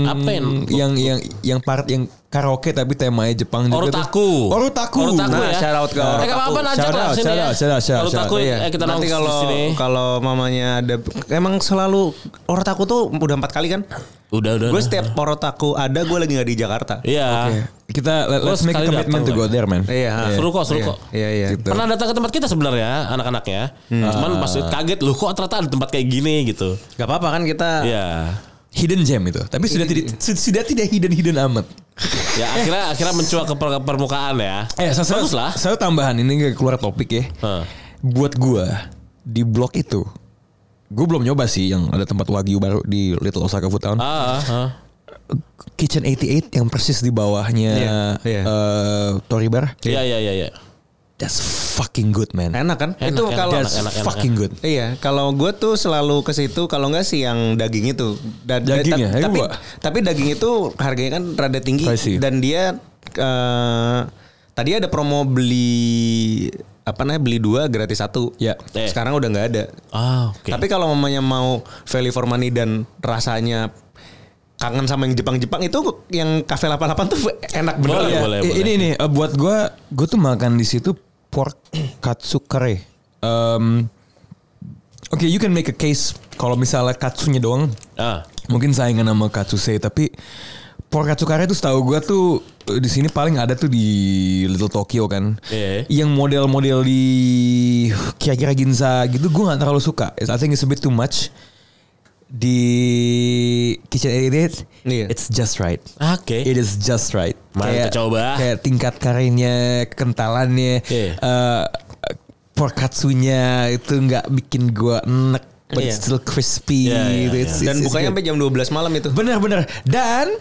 [SPEAKER 2] apa ya?
[SPEAKER 3] yang yang yang part yang karaoke tapi temanya Jepang juga
[SPEAKER 2] Orutaku.
[SPEAKER 3] tuh. Orutaku.
[SPEAKER 2] Orutaku
[SPEAKER 5] Nah,
[SPEAKER 2] ya.
[SPEAKER 5] shout out ke
[SPEAKER 2] Eh,
[SPEAKER 5] Orutaku.
[SPEAKER 2] apa-apa ajak
[SPEAKER 3] Shout
[SPEAKER 2] lah
[SPEAKER 3] out,
[SPEAKER 2] sini
[SPEAKER 3] shout
[SPEAKER 2] ya.
[SPEAKER 3] out, shout out, shout out.
[SPEAKER 2] Orutaku
[SPEAKER 3] Iya.
[SPEAKER 2] eh, kita
[SPEAKER 5] Nanti
[SPEAKER 2] nongkrong
[SPEAKER 5] kalau
[SPEAKER 2] di sini.
[SPEAKER 5] kalau mamanya ada emang selalu orotaku tuh udah empat kali kan?
[SPEAKER 2] Udah udah.
[SPEAKER 5] Gue
[SPEAKER 2] udah.
[SPEAKER 5] setiap orotaku ada gue lagi nggak di Jakarta.
[SPEAKER 2] Iya.
[SPEAKER 3] Oke, Kita let- let's
[SPEAKER 2] Gua
[SPEAKER 3] make a
[SPEAKER 2] sekali
[SPEAKER 3] commitment to
[SPEAKER 2] datang,
[SPEAKER 3] go there man.
[SPEAKER 5] Iya.
[SPEAKER 2] Seru kok, seru
[SPEAKER 5] Iya,
[SPEAKER 2] kok.
[SPEAKER 5] Iya iya.
[SPEAKER 3] Gitu.
[SPEAKER 2] Pernah datang ke tempat kita sebenarnya anak-anaknya.
[SPEAKER 3] Hmm.
[SPEAKER 2] Cuman pas
[SPEAKER 3] Ah.
[SPEAKER 2] kaget loh kok ternyata ada tempat kayak gini gitu.
[SPEAKER 5] Gak apa-apa kan kita.
[SPEAKER 3] Ah.
[SPEAKER 2] Iya.
[SPEAKER 3] Hidden gem itu. Tapi sudah tidak sudah tidak hidden hidden amat.
[SPEAKER 2] Ya akhirnya akhirnya mencuat ke per- permukaan ya.
[SPEAKER 3] Eh, saya,
[SPEAKER 2] Bagus lah.
[SPEAKER 3] Saya tambahan ini nggak keluar topik ya.
[SPEAKER 2] Heeh.
[SPEAKER 3] Buat gua di blog itu, gua belum nyoba sih yang ada tempat wagyu baru di Little Osaka Food Town.
[SPEAKER 2] Ah, ah, ah.
[SPEAKER 3] Kitchen 88 yang persis di bawahnya
[SPEAKER 5] Iya, iya.
[SPEAKER 3] eh, Tory Bar.
[SPEAKER 2] Iya iya iya. iya.
[SPEAKER 3] That's fucking good man.
[SPEAKER 5] Enak kan?
[SPEAKER 2] Enak,
[SPEAKER 5] itu
[SPEAKER 2] enak,
[SPEAKER 5] kalau
[SPEAKER 3] That's
[SPEAKER 2] enak, enak,
[SPEAKER 3] fucking good.
[SPEAKER 5] Iya, kalau gue tuh selalu ke situ kalau nggak sih yang daging itu. Da- da-
[SPEAKER 3] Dagingnya,
[SPEAKER 5] ta-
[SPEAKER 3] ya
[SPEAKER 5] tapi
[SPEAKER 3] gua.
[SPEAKER 5] tapi daging itu harganya kan rada tinggi
[SPEAKER 3] Pricey.
[SPEAKER 5] dan dia eh, tadi ada promo beli apa namanya beli dua gratis satu.
[SPEAKER 3] Ya.
[SPEAKER 2] Eh.
[SPEAKER 5] Sekarang udah nggak ada.
[SPEAKER 2] Ah, oke.
[SPEAKER 5] Tapi kalau mamanya mau value for money dan rasanya kangen sama yang Jepang-Jepang itu yang kafe 88 tuh enak bener.
[SPEAKER 2] Boleh,
[SPEAKER 5] ya.
[SPEAKER 2] boleh,
[SPEAKER 3] I-
[SPEAKER 2] boleh.
[SPEAKER 3] Ini nih eh, buat gua, gua tuh makan di situ pork katsukare. Um, Oke, you can make a case kalau misalnya katsunya doang
[SPEAKER 2] Ah.
[SPEAKER 3] mungkin saingan sama Katsuse tapi Porkatsukare tuh setahu gua tuh eh, di sini paling ada tuh di Little Tokyo kan.
[SPEAKER 2] Iya.
[SPEAKER 3] Yang model-model di kira-kira Ginza gitu gua nggak terlalu suka. I think it's a bit too much. Di Kitchen Edit,
[SPEAKER 5] Iya.
[SPEAKER 3] it's just right.
[SPEAKER 2] Ah, Oke.
[SPEAKER 3] It is just right.
[SPEAKER 2] Mari kita coba.
[SPEAKER 3] Kayak tingkat karenya, kekentalannya,
[SPEAKER 2] Iya.
[SPEAKER 3] eh, porkatsunya itu nggak bikin gua enek, but
[SPEAKER 5] Iya.
[SPEAKER 3] it's still
[SPEAKER 2] Iya,
[SPEAKER 3] crispy.
[SPEAKER 2] iya,
[SPEAKER 3] gitu.
[SPEAKER 2] iya.
[SPEAKER 3] It's-
[SPEAKER 5] Dan
[SPEAKER 3] it's- it's
[SPEAKER 5] bukanya
[SPEAKER 3] good.
[SPEAKER 5] sampai jam 12 malam
[SPEAKER 3] Gitu.
[SPEAKER 5] itu.
[SPEAKER 3] Bener-bener. Dan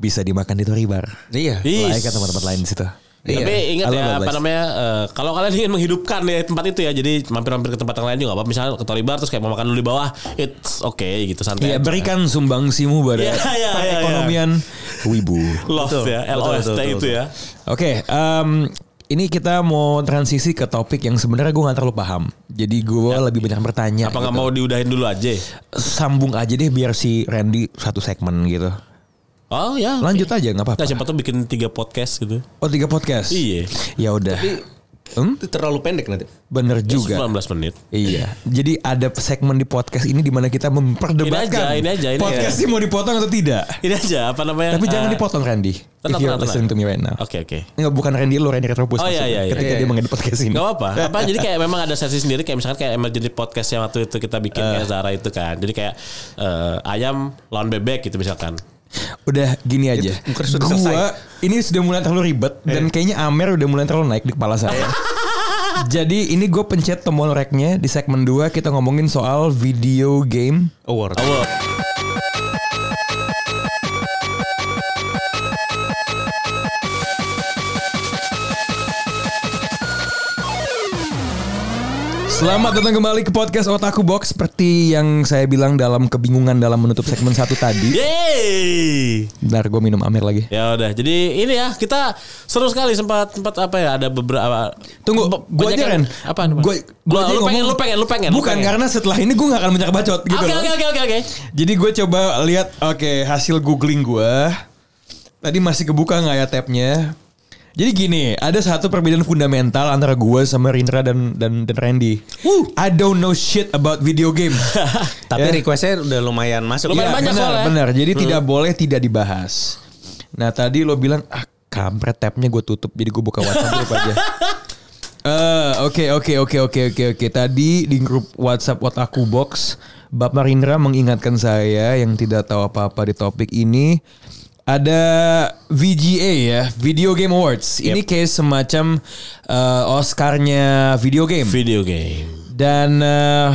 [SPEAKER 3] bisa dimakan di Tori Bar.
[SPEAKER 5] Iya.
[SPEAKER 2] Ih.
[SPEAKER 3] Lain ke tempat-tempat lain di situ. Iya.
[SPEAKER 2] Tapi ingat
[SPEAKER 3] I love
[SPEAKER 2] ya
[SPEAKER 3] that
[SPEAKER 2] apa
[SPEAKER 3] place.
[SPEAKER 2] namanya eh, kalau kalian ingin menghidupkan ya tempat itu ya jadi mampir-mampir ke tempat yang lain juga apa misalnya ke Tory Bar terus kayak mau makan dulu di bawah it's okay gitu santai.
[SPEAKER 3] Iya
[SPEAKER 2] aja.
[SPEAKER 3] berikan sumbangsimu pada
[SPEAKER 2] Iya, iya, iya,
[SPEAKER 3] perekonomian Wibu.
[SPEAKER 2] love ya LOST itu ya.
[SPEAKER 3] Oke, em, ini kita mau transisi ke topik yang sebenarnya gue nggak terlalu paham. Jadi gue lebih banyak bertanya.
[SPEAKER 2] Ya. Apa nggak mau diudahin dulu aja?
[SPEAKER 3] Sambung aja deh biar si Randy satu segmen gitu.
[SPEAKER 2] Oh ya. oke.
[SPEAKER 3] Lanjut aja nggak apa-apa.
[SPEAKER 2] Nah, siapa tuh bikin tiga podcast gitu.
[SPEAKER 3] Oh tiga podcast.
[SPEAKER 2] Iya.
[SPEAKER 3] Ya udah. Hmm?
[SPEAKER 5] Itu terlalu pendek nanti.
[SPEAKER 3] Bener
[SPEAKER 2] ya
[SPEAKER 3] juga.
[SPEAKER 2] 19 menit.
[SPEAKER 3] Iya. Jadi ada segmen di podcast ini di mana kita memperdebatkan
[SPEAKER 2] Ini aja, ini aja, ini
[SPEAKER 3] podcast
[SPEAKER 2] aja.
[SPEAKER 3] ini mau dipotong atau tidak.
[SPEAKER 2] Ini aja apa namanya?
[SPEAKER 3] Tapi jangan
[SPEAKER 2] eh,
[SPEAKER 3] dipotong Randy.
[SPEAKER 2] tenang,
[SPEAKER 3] if you're
[SPEAKER 2] tenang, tenang.
[SPEAKER 3] listening to me right now.
[SPEAKER 2] Oke, oke.
[SPEAKER 3] Enggak bukan Randy lu Randy Retropus.
[SPEAKER 2] Oh, iya,
[SPEAKER 3] maksudnya,
[SPEAKER 2] iya, iya.
[SPEAKER 3] Ketika
[SPEAKER 2] Iya,
[SPEAKER 3] dia
[SPEAKER 2] iya.
[SPEAKER 3] mengedit podcast ini.
[SPEAKER 2] Gak apa-apa. Apa jadi kayak memang ada sesi sendiri kayak misalkan kayak emergency podcast yang waktu itu kita bikin kayak
[SPEAKER 3] Eh.
[SPEAKER 2] Zara itu kan. Jadi kayak eh, ayam lawan bebek gitu misalkan.
[SPEAKER 3] Udah gini aja.
[SPEAKER 5] bukan sudah selesai.
[SPEAKER 3] Gua ini sudah mulai terlalu ribet
[SPEAKER 2] Eh.
[SPEAKER 3] dan kayaknya Amer udah mulai terlalu naik di kepala saya. Jadi ini gue pencet tombol reknya di segmen 2 kita ngomongin soal video game
[SPEAKER 5] Award.
[SPEAKER 3] Selamat datang kembali ke podcast Otaku Box Seperti yang saya bilang dalam kebingungan dalam menutup segmen satu tadi
[SPEAKER 2] Yeay.
[SPEAKER 3] Bentar gue minum Amir lagi
[SPEAKER 2] Ya udah. Jadi ini ya kita seru sekali sempat sempat apa ya ada beberapa
[SPEAKER 3] Tunggu,
[SPEAKER 2] Be-
[SPEAKER 3] gue
[SPEAKER 2] banyak
[SPEAKER 3] aja
[SPEAKER 2] yang-
[SPEAKER 3] Ren
[SPEAKER 2] Apa? Gue
[SPEAKER 3] gua aja
[SPEAKER 2] lu, pengen
[SPEAKER 3] ngomong-
[SPEAKER 2] lu pengen lu pengen.
[SPEAKER 3] Bukan, karena setelah ini gue gak akan banyak bacot gitu
[SPEAKER 2] Oke
[SPEAKER 3] loh.
[SPEAKER 2] oke oke oke oke.
[SPEAKER 3] Jadi gue coba lihat, oke hasil googling gue Tadi masih kebuka gak ya tabnya jadi gini, ada satu perbedaan fundamental antara gue sama Rindra dan dan dan Randy.
[SPEAKER 2] Uh.
[SPEAKER 3] I don't know shit about video game.
[SPEAKER 5] Tapi
[SPEAKER 3] Ya.
[SPEAKER 5] requestnya udah lumayan masuk.
[SPEAKER 2] Lumayan
[SPEAKER 5] Iya.
[SPEAKER 2] banyak
[SPEAKER 3] benar,
[SPEAKER 2] soalnya. Hmm.
[SPEAKER 3] benar. Jadi tidak boleh tidak dibahas. Nah tadi lo bilang ah kampret tabnya gue tutup jadi gue buka WhatsApp grup aja. Eh, Oke oke oke oke oke oke. Tadi di grup WhatsApp Otaku Box, Bapak Rindra mengingatkan saya yang tidak tahu apa-apa di topik ini ada VGA ya, Video Game Awards. Ini kayak semacam eh, Oscarnya video game.
[SPEAKER 2] Video game.
[SPEAKER 3] Dan uh,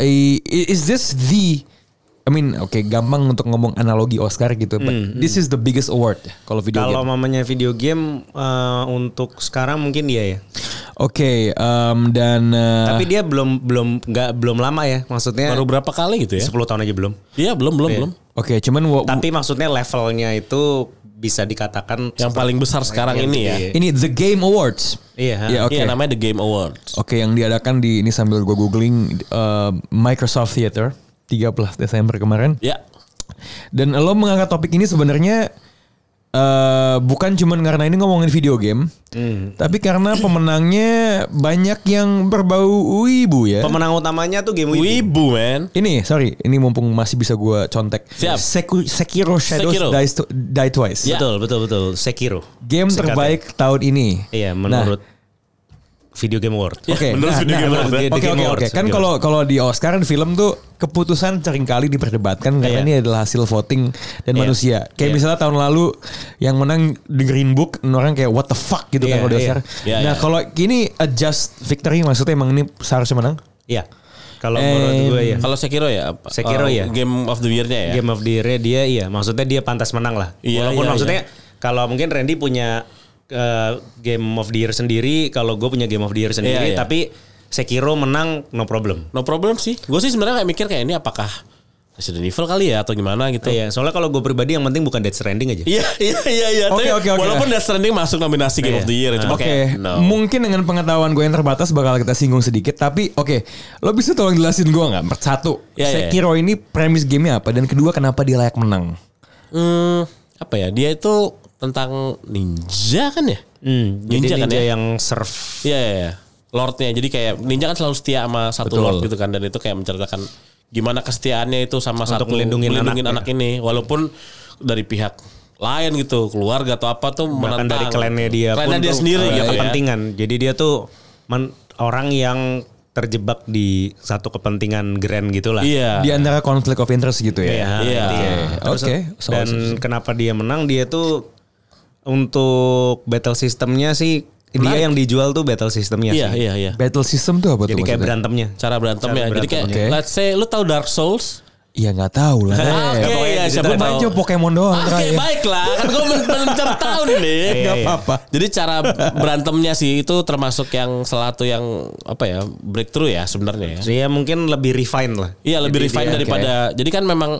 [SPEAKER 3] i- is this the I mean, oke gampang untuk ngomong analogi Oscar gitu, but this is the biggest award kalau video
[SPEAKER 5] Hmm, Kalau
[SPEAKER 3] game. Oke,
[SPEAKER 5] mamanya video game eh, untuk sekarang mungkin dia ya.
[SPEAKER 3] um, dan uh,
[SPEAKER 5] Tapi dia belum belum nggak belum lama ya. Maksudnya
[SPEAKER 2] Ah.
[SPEAKER 3] Eh.
[SPEAKER 2] Baru berapa kali gitu ya?
[SPEAKER 5] 10 tahun aja belum.
[SPEAKER 2] Iya belum belum belum.
[SPEAKER 3] oke, cuman wa-
[SPEAKER 2] Uh.
[SPEAKER 5] Tapi maksudnya levelnya itu bisa dikatakan
[SPEAKER 2] Yang paling besar sekarang ini ya.
[SPEAKER 3] ini the Game Awards.
[SPEAKER 5] Iya, ha.
[SPEAKER 3] Ya, oke.
[SPEAKER 2] Iya namanya The Game Awards.
[SPEAKER 3] Oke, yang diadakan di ini sambil gue googling uh, Microsoft Theater 13 Desember kemarin.
[SPEAKER 2] Ya.
[SPEAKER 3] Dan lo mengangkat topik ini sebenarnya eh bukan cuman karena ini ngomongin video game,
[SPEAKER 2] Hmm.
[SPEAKER 3] tapi karena pemenangnya banyak yang berbau wibu ya.
[SPEAKER 5] Pemenang utamanya tuh game Wii.
[SPEAKER 2] Wibu man.
[SPEAKER 3] ini sorry, ini mumpung masih bisa gua contek.
[SPEAKER 2] Siap.
[SPEAKER 3] Seku- Sekiro Shadows
[SPEAKER 2] Sekiro.
[SPEAKER 3] Dies To- Die Twice.
[SPEAKER 2] Ya.
[SPEAKER 5] Betul, betul, betul. Sekiro.
[SPEAKER 3] Game
[SPEAKER 5] Sekate.
[SPEAKER 3] terbaik tahun ini.
[SPEAKER 5] Iya,
[SPEAKER 3] Nah,
[SPEAKER 5] menurut Video Game Award.
[SPEAKER 3] Oke,
[SPEAKER 2] menurut
[SPEAKER 3] nah,
[SPEAKER 2] video
[SPEAKER 3] nah,
[SPEAKER 2] game
[SPEAKER 5] menurut
[SPEAKER 2] award ya.
[SPEAKER 5] dia-
[SPEAKER 3] Oke
[SPEAKER 5] Game
[SPEAKER 3] oke oke.
[SPEAKER 5] Awards, iya.
[SPEAKER 3] Kan
[SPEAKER 5] Game
[SPEAKER 3] kalau kalau di Oscar kan film tuh keputusan seringkali diperdebatkan karena
[SPEAKER 5] Iya.
[SPEAKER 3] ini adalah hasil voting dan
[SPEAKER 5] Iya.
[SPEAKER 3] manusia. Kayak
[SPEAKER 5] Iya.
[SPEAKER 3] misalnya tahun lalu yang menang The Green Book, orang kayak what the fuck gitu
[SPEAKER 5] Iya,
[SPEAKER 3] kan kalau di
[SPEAKER 5] iya.
[SPEAKER 3] Oscar.
[SPEAKER 2] Iya,
[SPEAKER 3] nah,
[SPEAKER 2] iya.
[SPEAKER 3] kalau ini adjust victory maksudnya emang ini seharusnya menang.
[SPEAKER 5] Iya. Kalau menurut
[SPEAKER 3] And-
[SPEAKER 5] gue ya.
[SPEAKER 2] Kalau Sekiro ya apa? Oh,
[SPEAKER 5] Sekiro ya.
[SPEAKER 2] Game of the year-nya ya.
[SPEAKER 5] Game of the Year dia iya, maksudnya dia pantas menang lah.
[SPEAKER 2] Iya,
[SPEAKER 5] Walaupun
[SPEAKER 2] iya,
[SPEAKER 5] maksudnya kalau mungkin Randy punya eh, Game of the Year sendiri, kalau gue punya Game of the Year
[SPEAKER 2] Iya,
[SPEAKER 5] sendiri,
[SPEAKER 2] iya.
[SPEAKER 5] tapi Sekiro menang no problem.
[SPEAKER 2] No problem sih. Gue sih sebenarnya kayak mikir kayak ini apakah Resident Evil kali ya atau gimana gitu.
[SPEAKER 5] Iya, soalnya kalau gue pribadi yang penting bukan Death Stranding aja.
[SPEAKER 2] Iya iya iya iya.
[SPEAKER 3] Oke,
[SPEAKER 2] Tapi
[SPEAKER 3] oke, oke.
[SPEAKER 2] Walaupun Death Stranding masuk nominasi Game
[SPEAKER 5] Iya.
[SPEAKER 2] of the Year, cuma
[SPEAKER 3] Oke,
[SPEAKER 2] kayak no.
[SPEAKER 3] mungkin dengan pengetahuan gue yang terbatas bakal kita singgung sedikit. Tapi oke, lo bisa tolong jelasin gue nggak? Satu,
[SPEAKER 2] Iya, iya, iya.
[SPEAKER 3] Sekiro ini premis gamenya apa dan kedua kenapa dia layak menang?
[SPEAKER 2] Hmm, apa ya? Dia itu tentang ninja kan ya?
[SPEAKER 5] Hmm,
[SPEAKER 2] Ninja
[SPEAKER 5] jadi
[SPEAKER 2] kan
[SPEAKER 5] ninja
[SPEAKER 2] ya?
[SPEAKER 5] yang surf.
[SPEAKER 2] Iya, iya, iya. Lordnya. Jadi kayak ninja kan selalu setia sama satu
[SPEAKER 3] Betul.
[SPEAKER 2] lord gitu kan. Dan itu kayak menceritakan gimana kesetiaannya itu sama satu.
[SPEAKER 5] melindungi
[SPEAKER 2] anak,
[SPEAKER 5] anak ya.
[SPEAKER 2] ini. Walaupun dari pihak lain gitu. Keluarga atau apa tuh
[SPEAKER 5] Bahkan
[SPEAKER 2] menentang.
[SPEAKER 5] dari klannya dia
[SPEAKER 2] Klannya
[SPEAKER 5] pun
[SPEAKER 2] dia
[SPEAKER 5] tuh,
[SPEAKER 2] sendiri
[SPEAKER 5] eh,
[SPEAKER 2] gitu ya.
[SPEAKER 5] kepentingan. Jadi dia tuh men- orang yang terjebak di satu kepentingan grand gitulah.
[SPEAKER 2] Iya.
[SPEAKER 3] Di antara konflik of interest gitu ya?
[SPEAKER 5] Ah. Iya.
[SPEAKER 2] Iya.
[SPEAKER 5] iya. Terus-
[SPEAKER 3] Oke, so-
[SPEAKER 5] dan kenapa dia menang? Dia tuh untuk battle sistemnya sih dia yang dijual tuh battle sistemnya.
[SPEAKER 2] Iya,
[SPEAKER 5] sih.
[SPEAKER 2] iya, iya.
[SPEAKER 3] Battle system tuh apa tuh?
[SPEAKER 5] Jadi kayak
[SPEAKER 3] maksudnya?
[SPEAKER 5] berantemnya.
[SPEAKER 2] Cara berantemnya.
[SPEAKER 5] Cara
[SPEAKER 2] Jadi kayak
[SPEAKER 3] berantemnya. Oke.
[SPEAKER 2] let's say lu tahu Dark Souls?
[SPEAKER 3] Ya nggak tahu lah.
[SPEAKER 2] Oke,
[SPEAKER 3] Eh,
[SPEAKER 2] ya,
[SPEAKER 5] gitu
[SPEAKER 2] siapa
[SPEAKER 3] Lu main
[SPEAKER 2] tahu. Ah,
[SPEAKER 3] cuma Pokemon doang.
[SPEAKER 2] Oke
[SPEAKER 3] terakhir.
[SPEAKER 2] baiklah kan gue mencari tahu nih.
[SPEAKER 3] Nggak apa-apa.
[SPEAKER 2] Jadi cara berantemnya sih itu termasuk yang salah satu yang apa ya breakthrough ya sebenarnya ya.
[SPEAKER 5] Iya mungkin lebih refine lah.
[SPEAKER 2] Iya lebih
[SPEAKER 5] Jadi
[SPEAKER 2] refine
[SPEAKER 5] dia-
[SPEAKER 2] daripada jadi kan memang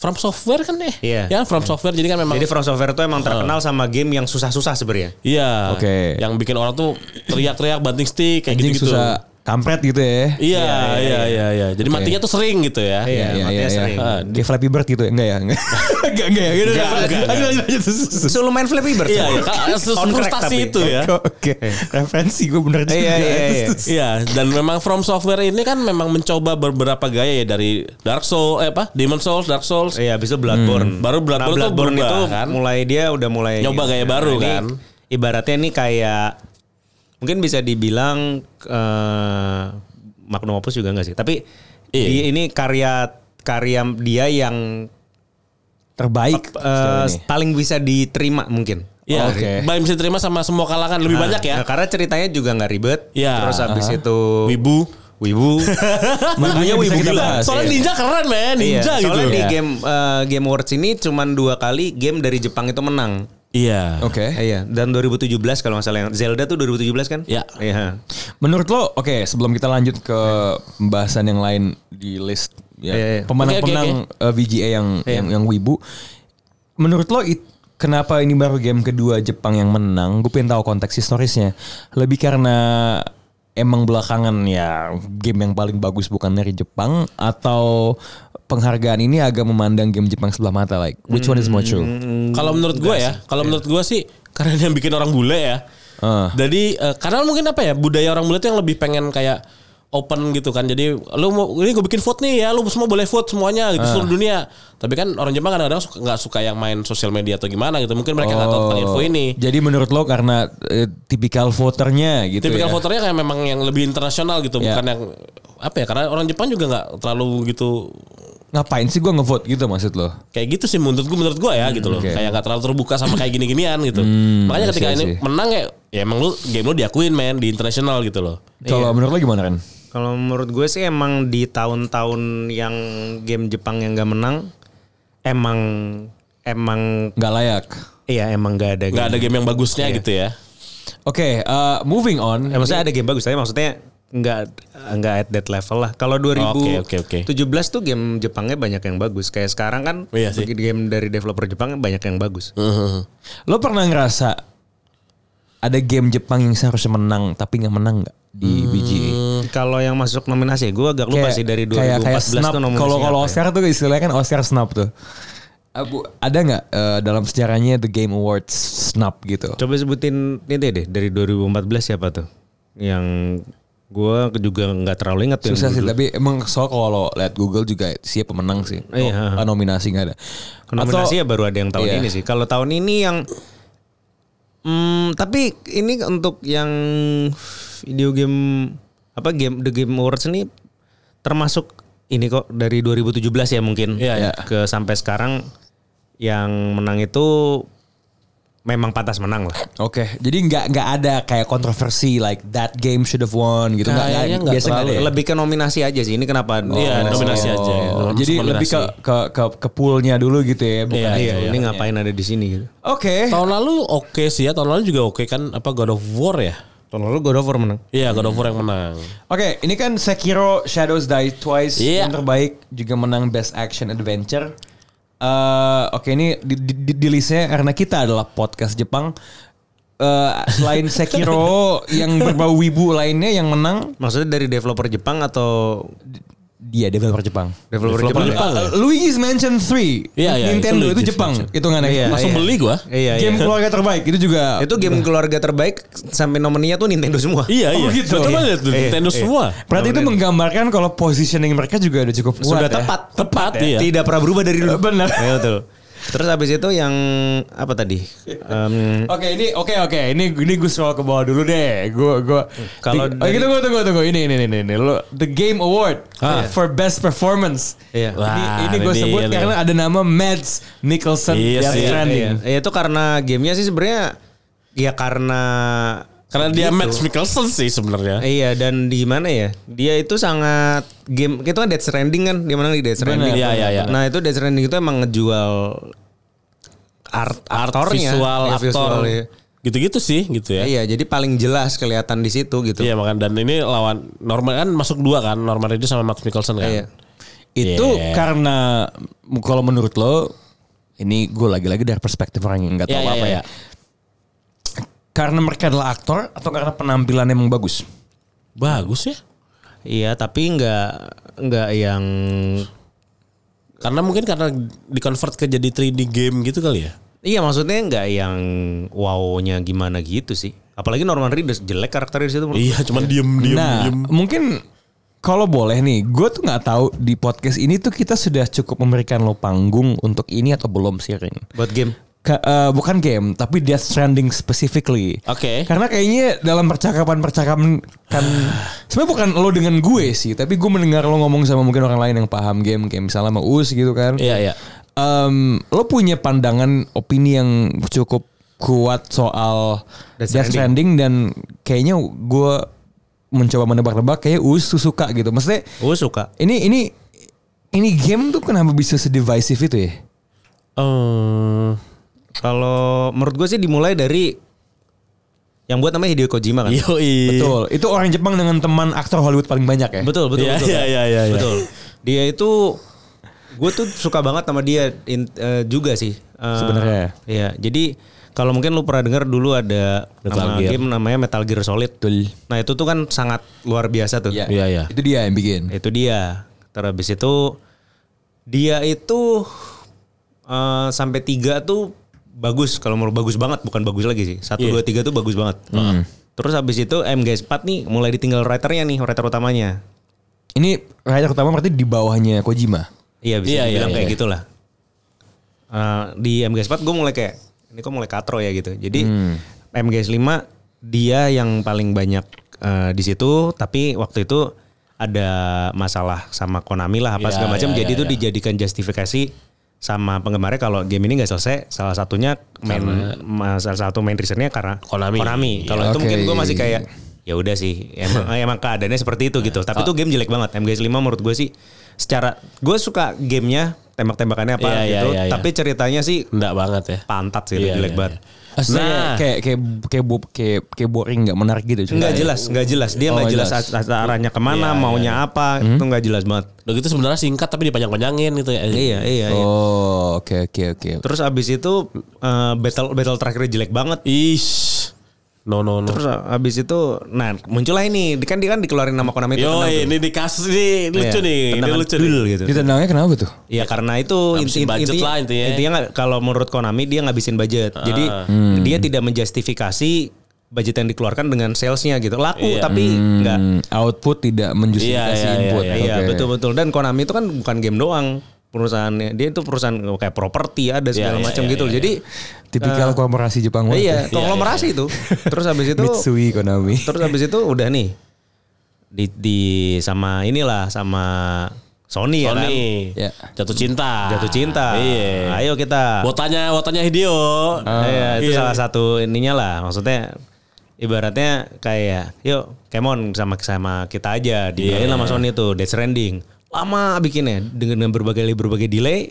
[SPEAKER 2] from software kan deh.
[SPEAKER 5] Iya.
[SPEAKER 2] Ya kan, from software jadi kan memang
[SPEAKER 5] Jadi From Software itu emang terkenal sama game yang susah-susah sebenarnya.
[SPEAKER 2] iya.
[SPEAKER 3] Oke.
[SPEAKER 2] Yang bikin orang tuh teriak-teriak banting stick kayak
[SPEAKER 3] Anjing
[SPEAKER 2] gitu-gitu.
[SPEAKER 3] susah kampret gitu ya.
[SPEAKER 2] Iya, iya, iya, iya. Jadi matinya tuh sering gitu ya.
[SPEAKER 5] Iya, makanya sering.
[SPEAKER 2] Ah,
[SPEAKER 3] Dia Flappy Bird gitu ya? Enggak ya? Enggak, enggak, enggak ya? Gitu.
[SPEAKER 5] kan?
[SPEAKER 2] Enggak, enggak, enggak.
[SPEAKER 3] Lanjut, lanjut, lanjut.
[SPEAKER 5] Selalu main Flappy Bird.
[SPEAKER 2] Iya,
[SPEAKER 5] semua.
[SPEAKER 2] iya. Kan, se-
[SPEAKER 5] On crack
[SPEAKER 2] frustasi
[SPEAKER 5] tapi.
[SPEAKER 2] itu ya.
[SPEAKER 3] Oke, referensi gue bener juga.
[SPEAKER 5] Iya, iya, iya.
[SPEAKER 2] Iya, dan memang From Software ini kan memang mencoba beberapa gaya ya dari Dark Souls, eh apa? Demon Souls, Dark Souls.
[SPEAKER 5] Iya, abis itu Bloodborne.
[SPEAKER 2] Hmm. Baru Bloodborne tuh berubah,
[SPEAKER 5] itu
[SPEAKER 2] kan?
[SPEAKER 5] mulai dia udah mulai
[SPEAKER 2] Nyoba gaya baru,
[SPEAKER 5] ini
[SPEAKER 2] kan?
[SPEAKER 5] Ibaratnya ini kayak mungkin bisa dibilang eh magnum opus juga enggak sih, tapi
[SPEAKER 2] Iya.
[SPEAKER 5] di- ini karya karya dia yang
[SPEAKER 3] Terbaik.
[SPEAKER 5] eh, paling bisa diterima mungkin.
[SPEAKER 2] Iya,
[SPEAKER 3] Oke.
[SPEAKER 2] baik bisa diterima sama semua kalangan lebih
[SPEAKER 5] Nah,
[SPEAKER 2] banyak ya.
[SPEAKER 5] nah, karena ceritanya juga nggak ribet.
[SPEAKER 2] Iya.
[SPEAKER 5] Terus abis
[SPEAKER 2] Aha.
[SPEAKER 5] itu
[SPEAKER 2] Wibu.
[SPEAKER 5] Wibu.
[SPEAKER 3] Makanya
[SPEAKER 5] wibu
[SPEAKER 3] bisa kita
[SPEAKER 5] gila.
[SPEAKER 3] bahas. iya.
[SPEAKER 2] Soalnya ninja keren men, ninja
[SPEAKER 5] Iya,
[SPEAKER 2] gitu.
[SPEAKER 5] Soalnya di
[SPEAKER 2] Iya.
[SPEAKER 5] game eh, Game Awards ini cuman dua kali game dari Jepang itu menang.
[SPEAKER 2] Iya.
[SPEAKER 3] Oke.
[SPEAKER 5] Iya, dan 2017 kalau nggak salah yang Zelda tuh 2017 kan?
[SPEAKER 2] Iya.
[SPEAKER 5] Iya.
[SPEAKER 3] Menurut lo, oke sebelum kita lanjut ke pembahasan yang lain di list ya,
[SPEAKER 5] Iya, iya.
[SPEAKER 3] pemenang-pemenang eh, VGA yang, yang yang wibu. Menurut lo it- kenapa ini baru game kedua Jepang yang menang? Gue pengen tahu konteks historisnya. Lebih karena emang belakangan ya game yang paling bagus bukan dari Jepang atau penghargaan ini agak memandang game Jepang sebelah mata like which one is more true?
[SPEAKER 2] Kalau menurut gue ya, kalau menurut gue sih karena yang bikin orang bule ya.
[SPEAKER 3] Iya. Ah.
[SPEAKER 2] Jadi eh, karena mungkin apa ya budaya orang bule itu yang lebih pengen kayak open gitu kan. Jadi lu mau ini gue bikin vote nih ya, lu semua boleh vote semuanya gitu
[SPEAKER 3] Ah.
[SPEAKER 2] seluruh dunia. Tapi kan orang Jepang kadang-kadang suka- nggak suka yang main sosial media atau gimana gitu. Mungkin mereka nggak tahu tentang info ini.
[SPEAKER 3] Oh, Jadi menurut lo karena eh, tipikal voternya gitu
[SPEAKER 2] Tipikal
[SPEAKER 3] ya?
[SPEAKER 2] voternya kayak memang yang lebih internasional gitu,
[SPEAKER 3] Ya.
[SPEAKER 2] bukan yang apa ya? Karena orang Jepang juga nggak terlalu gitu
[SPEAKER 3] Ngapain sih gue ngevote gitu maksud lo?
[SPEAKER 2] kayak gitu sih menurut gue menurut gue ya gitu loh
[SPEAKER 3] oke.
[SPEAKER 2] kayak nggak terlalu terbuka sama kayak gini-ginian gitu makanya
[SPEAKER 3] I
[SPEAKER 2] ketika
[SPEAKER 3] see, I
[SPEAKER 2] ini
[SPEAKER 3] see.
[SPEAKER 2] menang ya ya emang lu game lu diakuin men di internasional gitu loh
[SPEAKER 3] Kalau
[SPEAKER 5] Iya.
[SPEAKER 3] menurut lo gimana Ren?
[SPEAKER 5] Kalau menurut gue sih emang di tahun-tahun yang game Jepang yang nggak menang emang emang
[SPEAKER 3] Gak layak.
[SPEAKER 5] iya emang nggak ada
[SPEAKER 2] nggak ada game yang bagusnya gitu ya
[SPEAKER 3] Oke, eh, moving on.
[SPEAKER 5] Eh, maksudnya ada game bagus tapi maksudnya nggak nggak at that level lah. Kalau 2017
[SPEAKER 2] Oh, Oke, oke, oke.
[SPEAKER 5] tuh game Jepangnya banyak yang bagus. Kayak sekarang kan
[SPEAKER 2] Iya sih.
[SPEAKER 5] game dari developer Jepang banyak yang bagus.
[SPEAKER 3] Lo pernah ngerasa ada game Jepang yang seharusnya menang tapi nggak menang nggak di BGA?
[SPEAKER 5] Kalau yang masuk nominasi gue agak lupa sih Hmm, dari 2014
[SPEAKER 3] kayak snap.
[SPEAKER 5] tuh nominasi.
[SPEAKER 3] Kalau kalau
[SPEAKER 5] apa ya.
[SPEAKER 3] Oscar tuh istilahnya kan Oscar snap tuh. Abu, ada nggak eh, dalam sejarahnya The Game Awards snap gitu?
[SPEAKER 5] Coba sebutin ini deh dari 2014 siapa tuh? Yang gue juga nggak terlalu ingat tuh yang
[SPEAKER 3] Susah sih,
[SPEAKER 5] dulu.
[SPEAKER 3] tapi emang soal kalau lihat Google juga siapa pemenang sih.
[SPEAKER 5] Iya.
[SPEAKER 3] Oh, nominasi nggak ada.
[SPEAKER 5] Nominasi ya baru ada yang tahun
[SPEAKER 3] Iya.
[SPEAKER 5] ini sih. Kalau tahun ini yang Hmm, tapi ini untuk yang video game apa game The Game Awards ini termasuk ini kok dari 2017 ya mungkin
[SPEAKER 2] Iya, iya.
[SPEAKER 5] ke sampai sekarang yang menang itu memang pantas menang lah.
[SPEAKER 3] Oke, jadi nggak nggak ada kayak kontroversi like that game should have won gitu. Nggak
[SPEAKER 2] Kayaknya nggak
[SPEAKER 3] biasa nggak ada
[SPEAKER 2] terlalu.
[SPEAKER 3] ya?
[SPEAKER 5] Lebih ke nominasi aja sih. Ini kenapa?
[SPEAKER 2] Iya, nominasi aja.
[SPEAKER 3] Oh,
[SPEAKER 2] Nominasi.
[SPEAKER 3] jadi lebih ke ke ke, ke poolnya dulu gitu ya, bukan.
[SPEAKER 2] Iya,
[SPEAKER 5] Iya,
[SPEAKER 2] iya,
[SPEAKER 5] ini ngapain ada di sini gitu.
[SPEAKER 2] Eh.
[SPEAKER 3] Oke.
[SPEAKER 2] tahun lalu oke sih ya tahun lalu juga oke kan apa God of War ya
[SPEAKER 5] Tahun lalu God of War menang.
[SPEAKER 2] iya God of War yang menang
[SPEAKER 3] Oke, ini kan Sekiro Shadows Die Twice
[SPEAKER 2] Iya.
[SPEAKER 3] yang terbaik juga menang Best Action Adventure. Eh, Oke, ini di, di, di- di listnya karena kita adalah podcast Jepang. Eh, selain Sekiro yang berbau wibu lainnya yang menang
[SPEAKER 5] Maksudnya dari developer Jepang atau
[SPEAKER 3] dia developer Jepang.
[SPEAKER 5] developer, Jepang?
[SPEAKER 2] Jepang ya?
[SPEAKER 3] Eh, Luigi's Mansion 3
[SPEAKER 2] Iya, iya,
[SPEAKER 3] Nintendo
[SPEAKER 2] itu
[SPEAKER 3] itu,
[SPEAKER 2] Luigi's
[SPEAKER 3] Jepang
[SPEAKER 2] Mansion.
[SPEAKER 3] hitungannya
[SPEAKER 5] Iya,
[SPEAKER 2] langsung
[SPEAKER 5] iya.
[SPEAKER 2] beli gua
[SPEAKER 3] Eh.
[SPEAKER 5] Iya, iya.
[SPEAKER 3] game keluarga terbaik itu juga
[SPEAKER 5] Itu game keluarga terbaik sampai nomininya tuh Nintendo semua.
[SPEAKER 2] iya iya
[SPEAKER 3] Oh, gitu.
[SPEAKER 2] betul banget tuh,
[SPEAKER 5] Iya,
[SPEAKER 2] Nintendo
[SPEAKER 5] iya.
[SPEAKER 2] semua
[SPEAKER 3] berarti itu menggambarkan kalau positioning mereka juga udah cukup kuat
[SPEAKER 5] Sudah
[SPEAKER 3] ya.
[SPEAKER 5] tepat.
[SPEAKER 2] tepat iya
[SPEAKER 5] Tidak pernah berubah dari dulu.
[SPEAKER 3] Benar.
[SPEAKER 5] Iya, betul. Terus habis itu yang apa tadi? Em,
[SPEAKER 3] Oke ini oke oke ini ini gue scroll ke bawah dulu deh. Gue gue
[SPEAKER 5] Kalau
[SPEAKER 3] Di- oh,
[SPEAKER 5] dari-
[SPEAKER 3] tunggu tunggu tunggu ini ini ini ini lo the game award
[SPEAKER 2] Ah.
[SPEAKER 3] for best performance.
[SPEAKER 5] Iya.
[SPEAKER 3] Ini ini gue
[SPEAKER 2] Wah, ini
[SPEAKER 3] sebut
[SPEAKER 2] dia nih.
[SPEAKER 3] karena ada nama Mads Mikkelsen
[SPEAKER 2] Iya
[SPEAKER 3] Death
[SPEAKER 2] sih.
[SPEAKER 3] Stranding.
[SPEAKER 5] iya, itu karena gamenya sih sebenarnya ya karena
[SPEAKER 2] Karena dia Matt Mickelson sih sebenarnya.
[SPEAKER 5] Iya dan di mana ya? Dia itu sangat game itu kan Death Stranding kan dia menang di Death Stranding.
[SPEAKER 2] Iya, iya, iya.
[SPEAKER 5] Nah itu Death Stranding itu emang ngejual art,
[SPEAKER 2] Art
[SPEAKER 5] aktornya,
[SPEAKER 2] visual,
[SPEAKER 5] Iya,
[SPEAKER 2] aktor.
[SPEAKER 5] iya.
[SPEAKER 2] Gitu-gitu sih gitu ya.
[SPEAKER 5] Iya jadi paling jelas kelihatan di situ gitu.
[SPEAKER 2] Iya makanya dan ini lawan Norman kan masuk dua kan Norman Reedus sama Max Mickelson kan.
[SPEAKER 5] Iya.
[SPEAKER 3] Itu
[SPEAKER 2] Yeah.
[SPEAKER 3] karena kalau menurut lo ini gue lagi-lagi dari perspektif orang yang nggak tahu
[SPEAKER 2] Iya, iya,
[SPEAKER 3] apa
[SPEAKER 2] iya.
[SPEAKER 3] ya. Karena mereka adalah aktor atau karena penampilannya emang bagus?
[SPEAKER 2] Bagus ya.
[SPEAKER 5] Iya tapi nggak nggak yang
[SPEAKER 2] Karena mungkin karena dikonvert ke jadi 3D game gitu kali ya.
[SPEAKER 5] Iya maksudnya nggak yang wow-nya gimana gitu sih. Apalagi Norman Reedus jelek karakternya di situ. menurut
[SPEAKER 2] Iya, cuman diem diem
[SPEAKER 3] nah,
[SPEAKER 2] diem.
[SPEAKER 3] mungkin kalau boleh nih, gue tuh nggak tahu di podcast ini tuh kita sudah cukup memberikan lo panggung untuk ini atau belum sih Rin?
[SPEAKER 5] gue. Buat game.
[SPEAKER 3] Ka- eh, bukan game, tapi Death Stranding specifically.
[SPEAKER 2] Oke.
[SPEAKER 3] Karena kayaknya dalam percakapan-percakapan kan sebenarnya bukan lo dengan gue sih, tapi gue mendengar lo ngomong sama mungkin orang lain yang paham game, kayak misalnya sama Us gitu kan.
[SPEAKER 2] Iya, iya.
[SPEAKER 3] Em, lo punya pandangan opini yang cukup kuat soal Death
[SPEAKER 5] Death
[SPEAKER 3] Stranding, dan kayaknya gue mencoba menebak-nebak kayak Us tuh suka gitu. Maksudnya
[SPEAKER 5] Gue suka.
[SPEAKER 3] ini ini ini game tuh kenapa bisa sedivisive itu ya?
[SPEAKER 2] Eh,
[SPEAKER 5] Kalau menurut gue sih dimulai dari yang buat namanya Hideo Kojima kan.
[SPEAKER 2] Eh, yoi.
[SPEAKER 3] Betul. Itu orang Jepang dengan teman aktor Hollywood paling banyak ya.
[SPEAKER 5] Betul, betul,
[SPEAKER 2] Iya,
[SPEAKER 5] betul.
[SPEAKER 2] iya, iya, iya, iya.
[SPEAKER 5] Betul. Dia itu gue tuh suka banget sama dia in- eh, juga sih. Eh,
[SPEAKER 3] Sebenarnya.
[SPEAKER 5] Iya, jadi kalau mungkin lu pernah dengar dulu ada
[SPEAKER 2] Metal
[SPEAKER 5] nama
[SPEAKER 2] Gear.
[SPEAKER 5] game namanya Metal Gear Solid.
[SPEAKER 3] Betul.
[SPEAKER 5] Nah, itu tuh kan sangat luar biasa tuh.
[SPEAKER 3] Iya.
[SPEAKER 2] Iya, iya.
[SPEAKER 3] Itu dia yang bikin.
[SPEAKER 5] Itu dia. Terhabis itu dia itu eh, sampai tiga tuh bagus kalau mau bagus banget bukan bagus lagi sih
[SPEAKER 2] Iya.
[SPEAKER 5] satu dua tiga tuh bagus banget. Terus habis itu MGS 4 nih mulai ditinggal writernya nih writer utamanya.
[SPEAKER 3] Ini writer utama berarti di bawahnya Kojima.
[SPEAKER 5] Iya
[SPEAKER 2] Iya,
[SPEAKER 5] bisa
[SPEAKER 2] iya,
[SPEAKER 5] dibilang
[SPEAKER 2] iya,
[SPEAKER 5] kayak
[SPEAKER 2] iya.
[SPEAKER 5] gitulah. Eh, di MGS 4 gue mulai kayak ini kok mulai katro ya gitu. Jadi
[SPEAKER 2] Hmm.
[SPEAKER 5] MGS 5 dia yang paling banyak eh, di situ tapi waktu itu ada masalah sama Konami lah apa
[SPEAKER 2] Iya,
[SPEAKER 5] segala macam
[SPEAKER 2] iya,
[SPEAKER 5] jadi
[SPEAKER 2] iya,
[SPEAKER 5] itu
[SPEAKER 2] iya.
[SPEAKER 5] dijadikan justifikasi sama penggemarnya kalau game ini nggak selesai salah satunya main ma- salah satu main reasonnya karena
[SPEAKER 2] Konami. Iya.
[SPEAKER 5] Kalau itu mungkin
[SPEAKER 3] Oke.
[SPEAKER 5] gue masih kayak ya udah sih emang emang keadaannya seperti itu gitu. Tapi itu game jelek banget. MGS 5 menurut gue sih secara gue suka gamenya tembak-tembakannya apa
[SPEAKER 2] Iya, iya,
[SPEAKER 5] gitu.
[SPEAKER 2] iya, iya.
[SPEAKER 5] Tapi ceritanya sih
[SPEAKER 2] Enggak banget ya.
[SPEAKER 5] pantat sih itu
[SPEAKER 2] Iya,
[SPEAKER 5] jelek
[SPEAKER 2] iya,
[SPEAKER 5] banget.
[SPEAKER 2] iya.
[SPEAKER 3] Nah,
[SPEAKER 2] Nah.
[SPEAKER 3] kayak kayak kayak bo- kayak, kayak boring nggak menarik gitu.
[SPEAKER 5] Nggak jelas, nggak jelas. Dia nggak
[SPEAKER 3] Oh,
[SPEAKER 5] jelas
[SPEAKER 3] jelas.
[SPEAKER 5] as- as- arahnya
[SPEAKER 2] Iya,
[SPEAKER 5] kemana, maunya apa, itu nggak jelas banget.
[SPEAKER 2] Udah gitu sebenarnya singkat tapi dipanjang-panjangin gitu ya.
[SPEAKER 5] Iya, iya, iya.
[SPEAKER 3] Oh, oke oke oke.
[SPEAKER 5] Terus abis itu eh, battle battle terakhirnya jelek banget.
[SPEAKER 2] Ish. No no no.
[SPEAKER 5] Terus abis itu, nah muncullah ini, kan dia kan dikeluarin nama Konami itu.
[SPEAKER 2] Yo,
[SPEAKER 5] kenal tuh.
[SPEAKER 2] ini di kasus ini lucu
[SPEAKER 5] Iya,
[SPEAKER 2] nih, ini
[SPEAKER 5] tendangan
[SPEAKER 2] lucu
[SPEAKER 5] dul
[SPEAKER 2] nih.
[SPEAKER 5] gitu.
[SPEAKER 3] Ditendangnya kenapa tuh?
[SPEAKER 5] Ya karena itu
[SPEAKER 2] Ngabisin budget
[SPEAKER 5] intinya,
[SPEAKER 2] lah intinya. Ah.
[SPEAKER 5] intinya nggak- kalau menurut Konami dia ngabisin budget. Jadi
[SPEAKER 3] Hmm.
[SPEAKER 5] dia tidak menjustifikasi budget yang dikeluarkan dengan salesnya gitu. Laku
[SPEAKER 2] Iya.
[SPEAKER 5] tapi nggak.
[SPEAKER 3] Hmm, output tidak menjustifikasi
[SPEAKER 2] Iya, iya, iya,
[SPEAKER 3] input.
[SPEAKER 2] iya.
[SPEAKER 5] Iya
[SPEAKER 3] Oke.
[SPEAKER 5] betul-betul. Dan Konami itu kan bukan game doang perusahaannya. Dia itu perusahaan kayak properti ada segala
[SPEAKER 2] Iya, iya,
[SPEAKER 5] macam
[SPEAKER 2] iya,
[SPEAKER 5] gitu.
[SPEAKER 2] iya,
[SPEAKER 5] Jadi
[SPEAKER 3] Tipikal korporasi Jepang banget.
[SPEAKER 5] iya konglomerasi itu. Terus habis itu
[SPEAKER 3] Mitsui Konami.
[SPEAKER 5] terus habis itu udah nih di, di sama inilah sama Sony, ya kan.
[SPEAKER 2] Sony
[SPEAKER 3] Iya.
[SPEAKER 2] jatuh cinta.
[SPEAKER 5] Jatuh cinta. Nah,
[SPEAKER 2] Iya.
[SPEAKER 5] Ayo kita.
[SPEAKER 2] Wotanya wotanya Hideo.
[SPEAKER 5] Ah. Iya, itu
[SPEAKER 2] Iya.
[SPEAKER 5] salah satu ininya lah. Maksudnya ibaratnya kayak yuk kemon sama sama kita aja dibilangin
[SPEAKER 2] Iya.
[SPEAKER 5] sama Sony tuh Death Stranding. Lama bikinnya dengan dengan berbagai berbagai delay.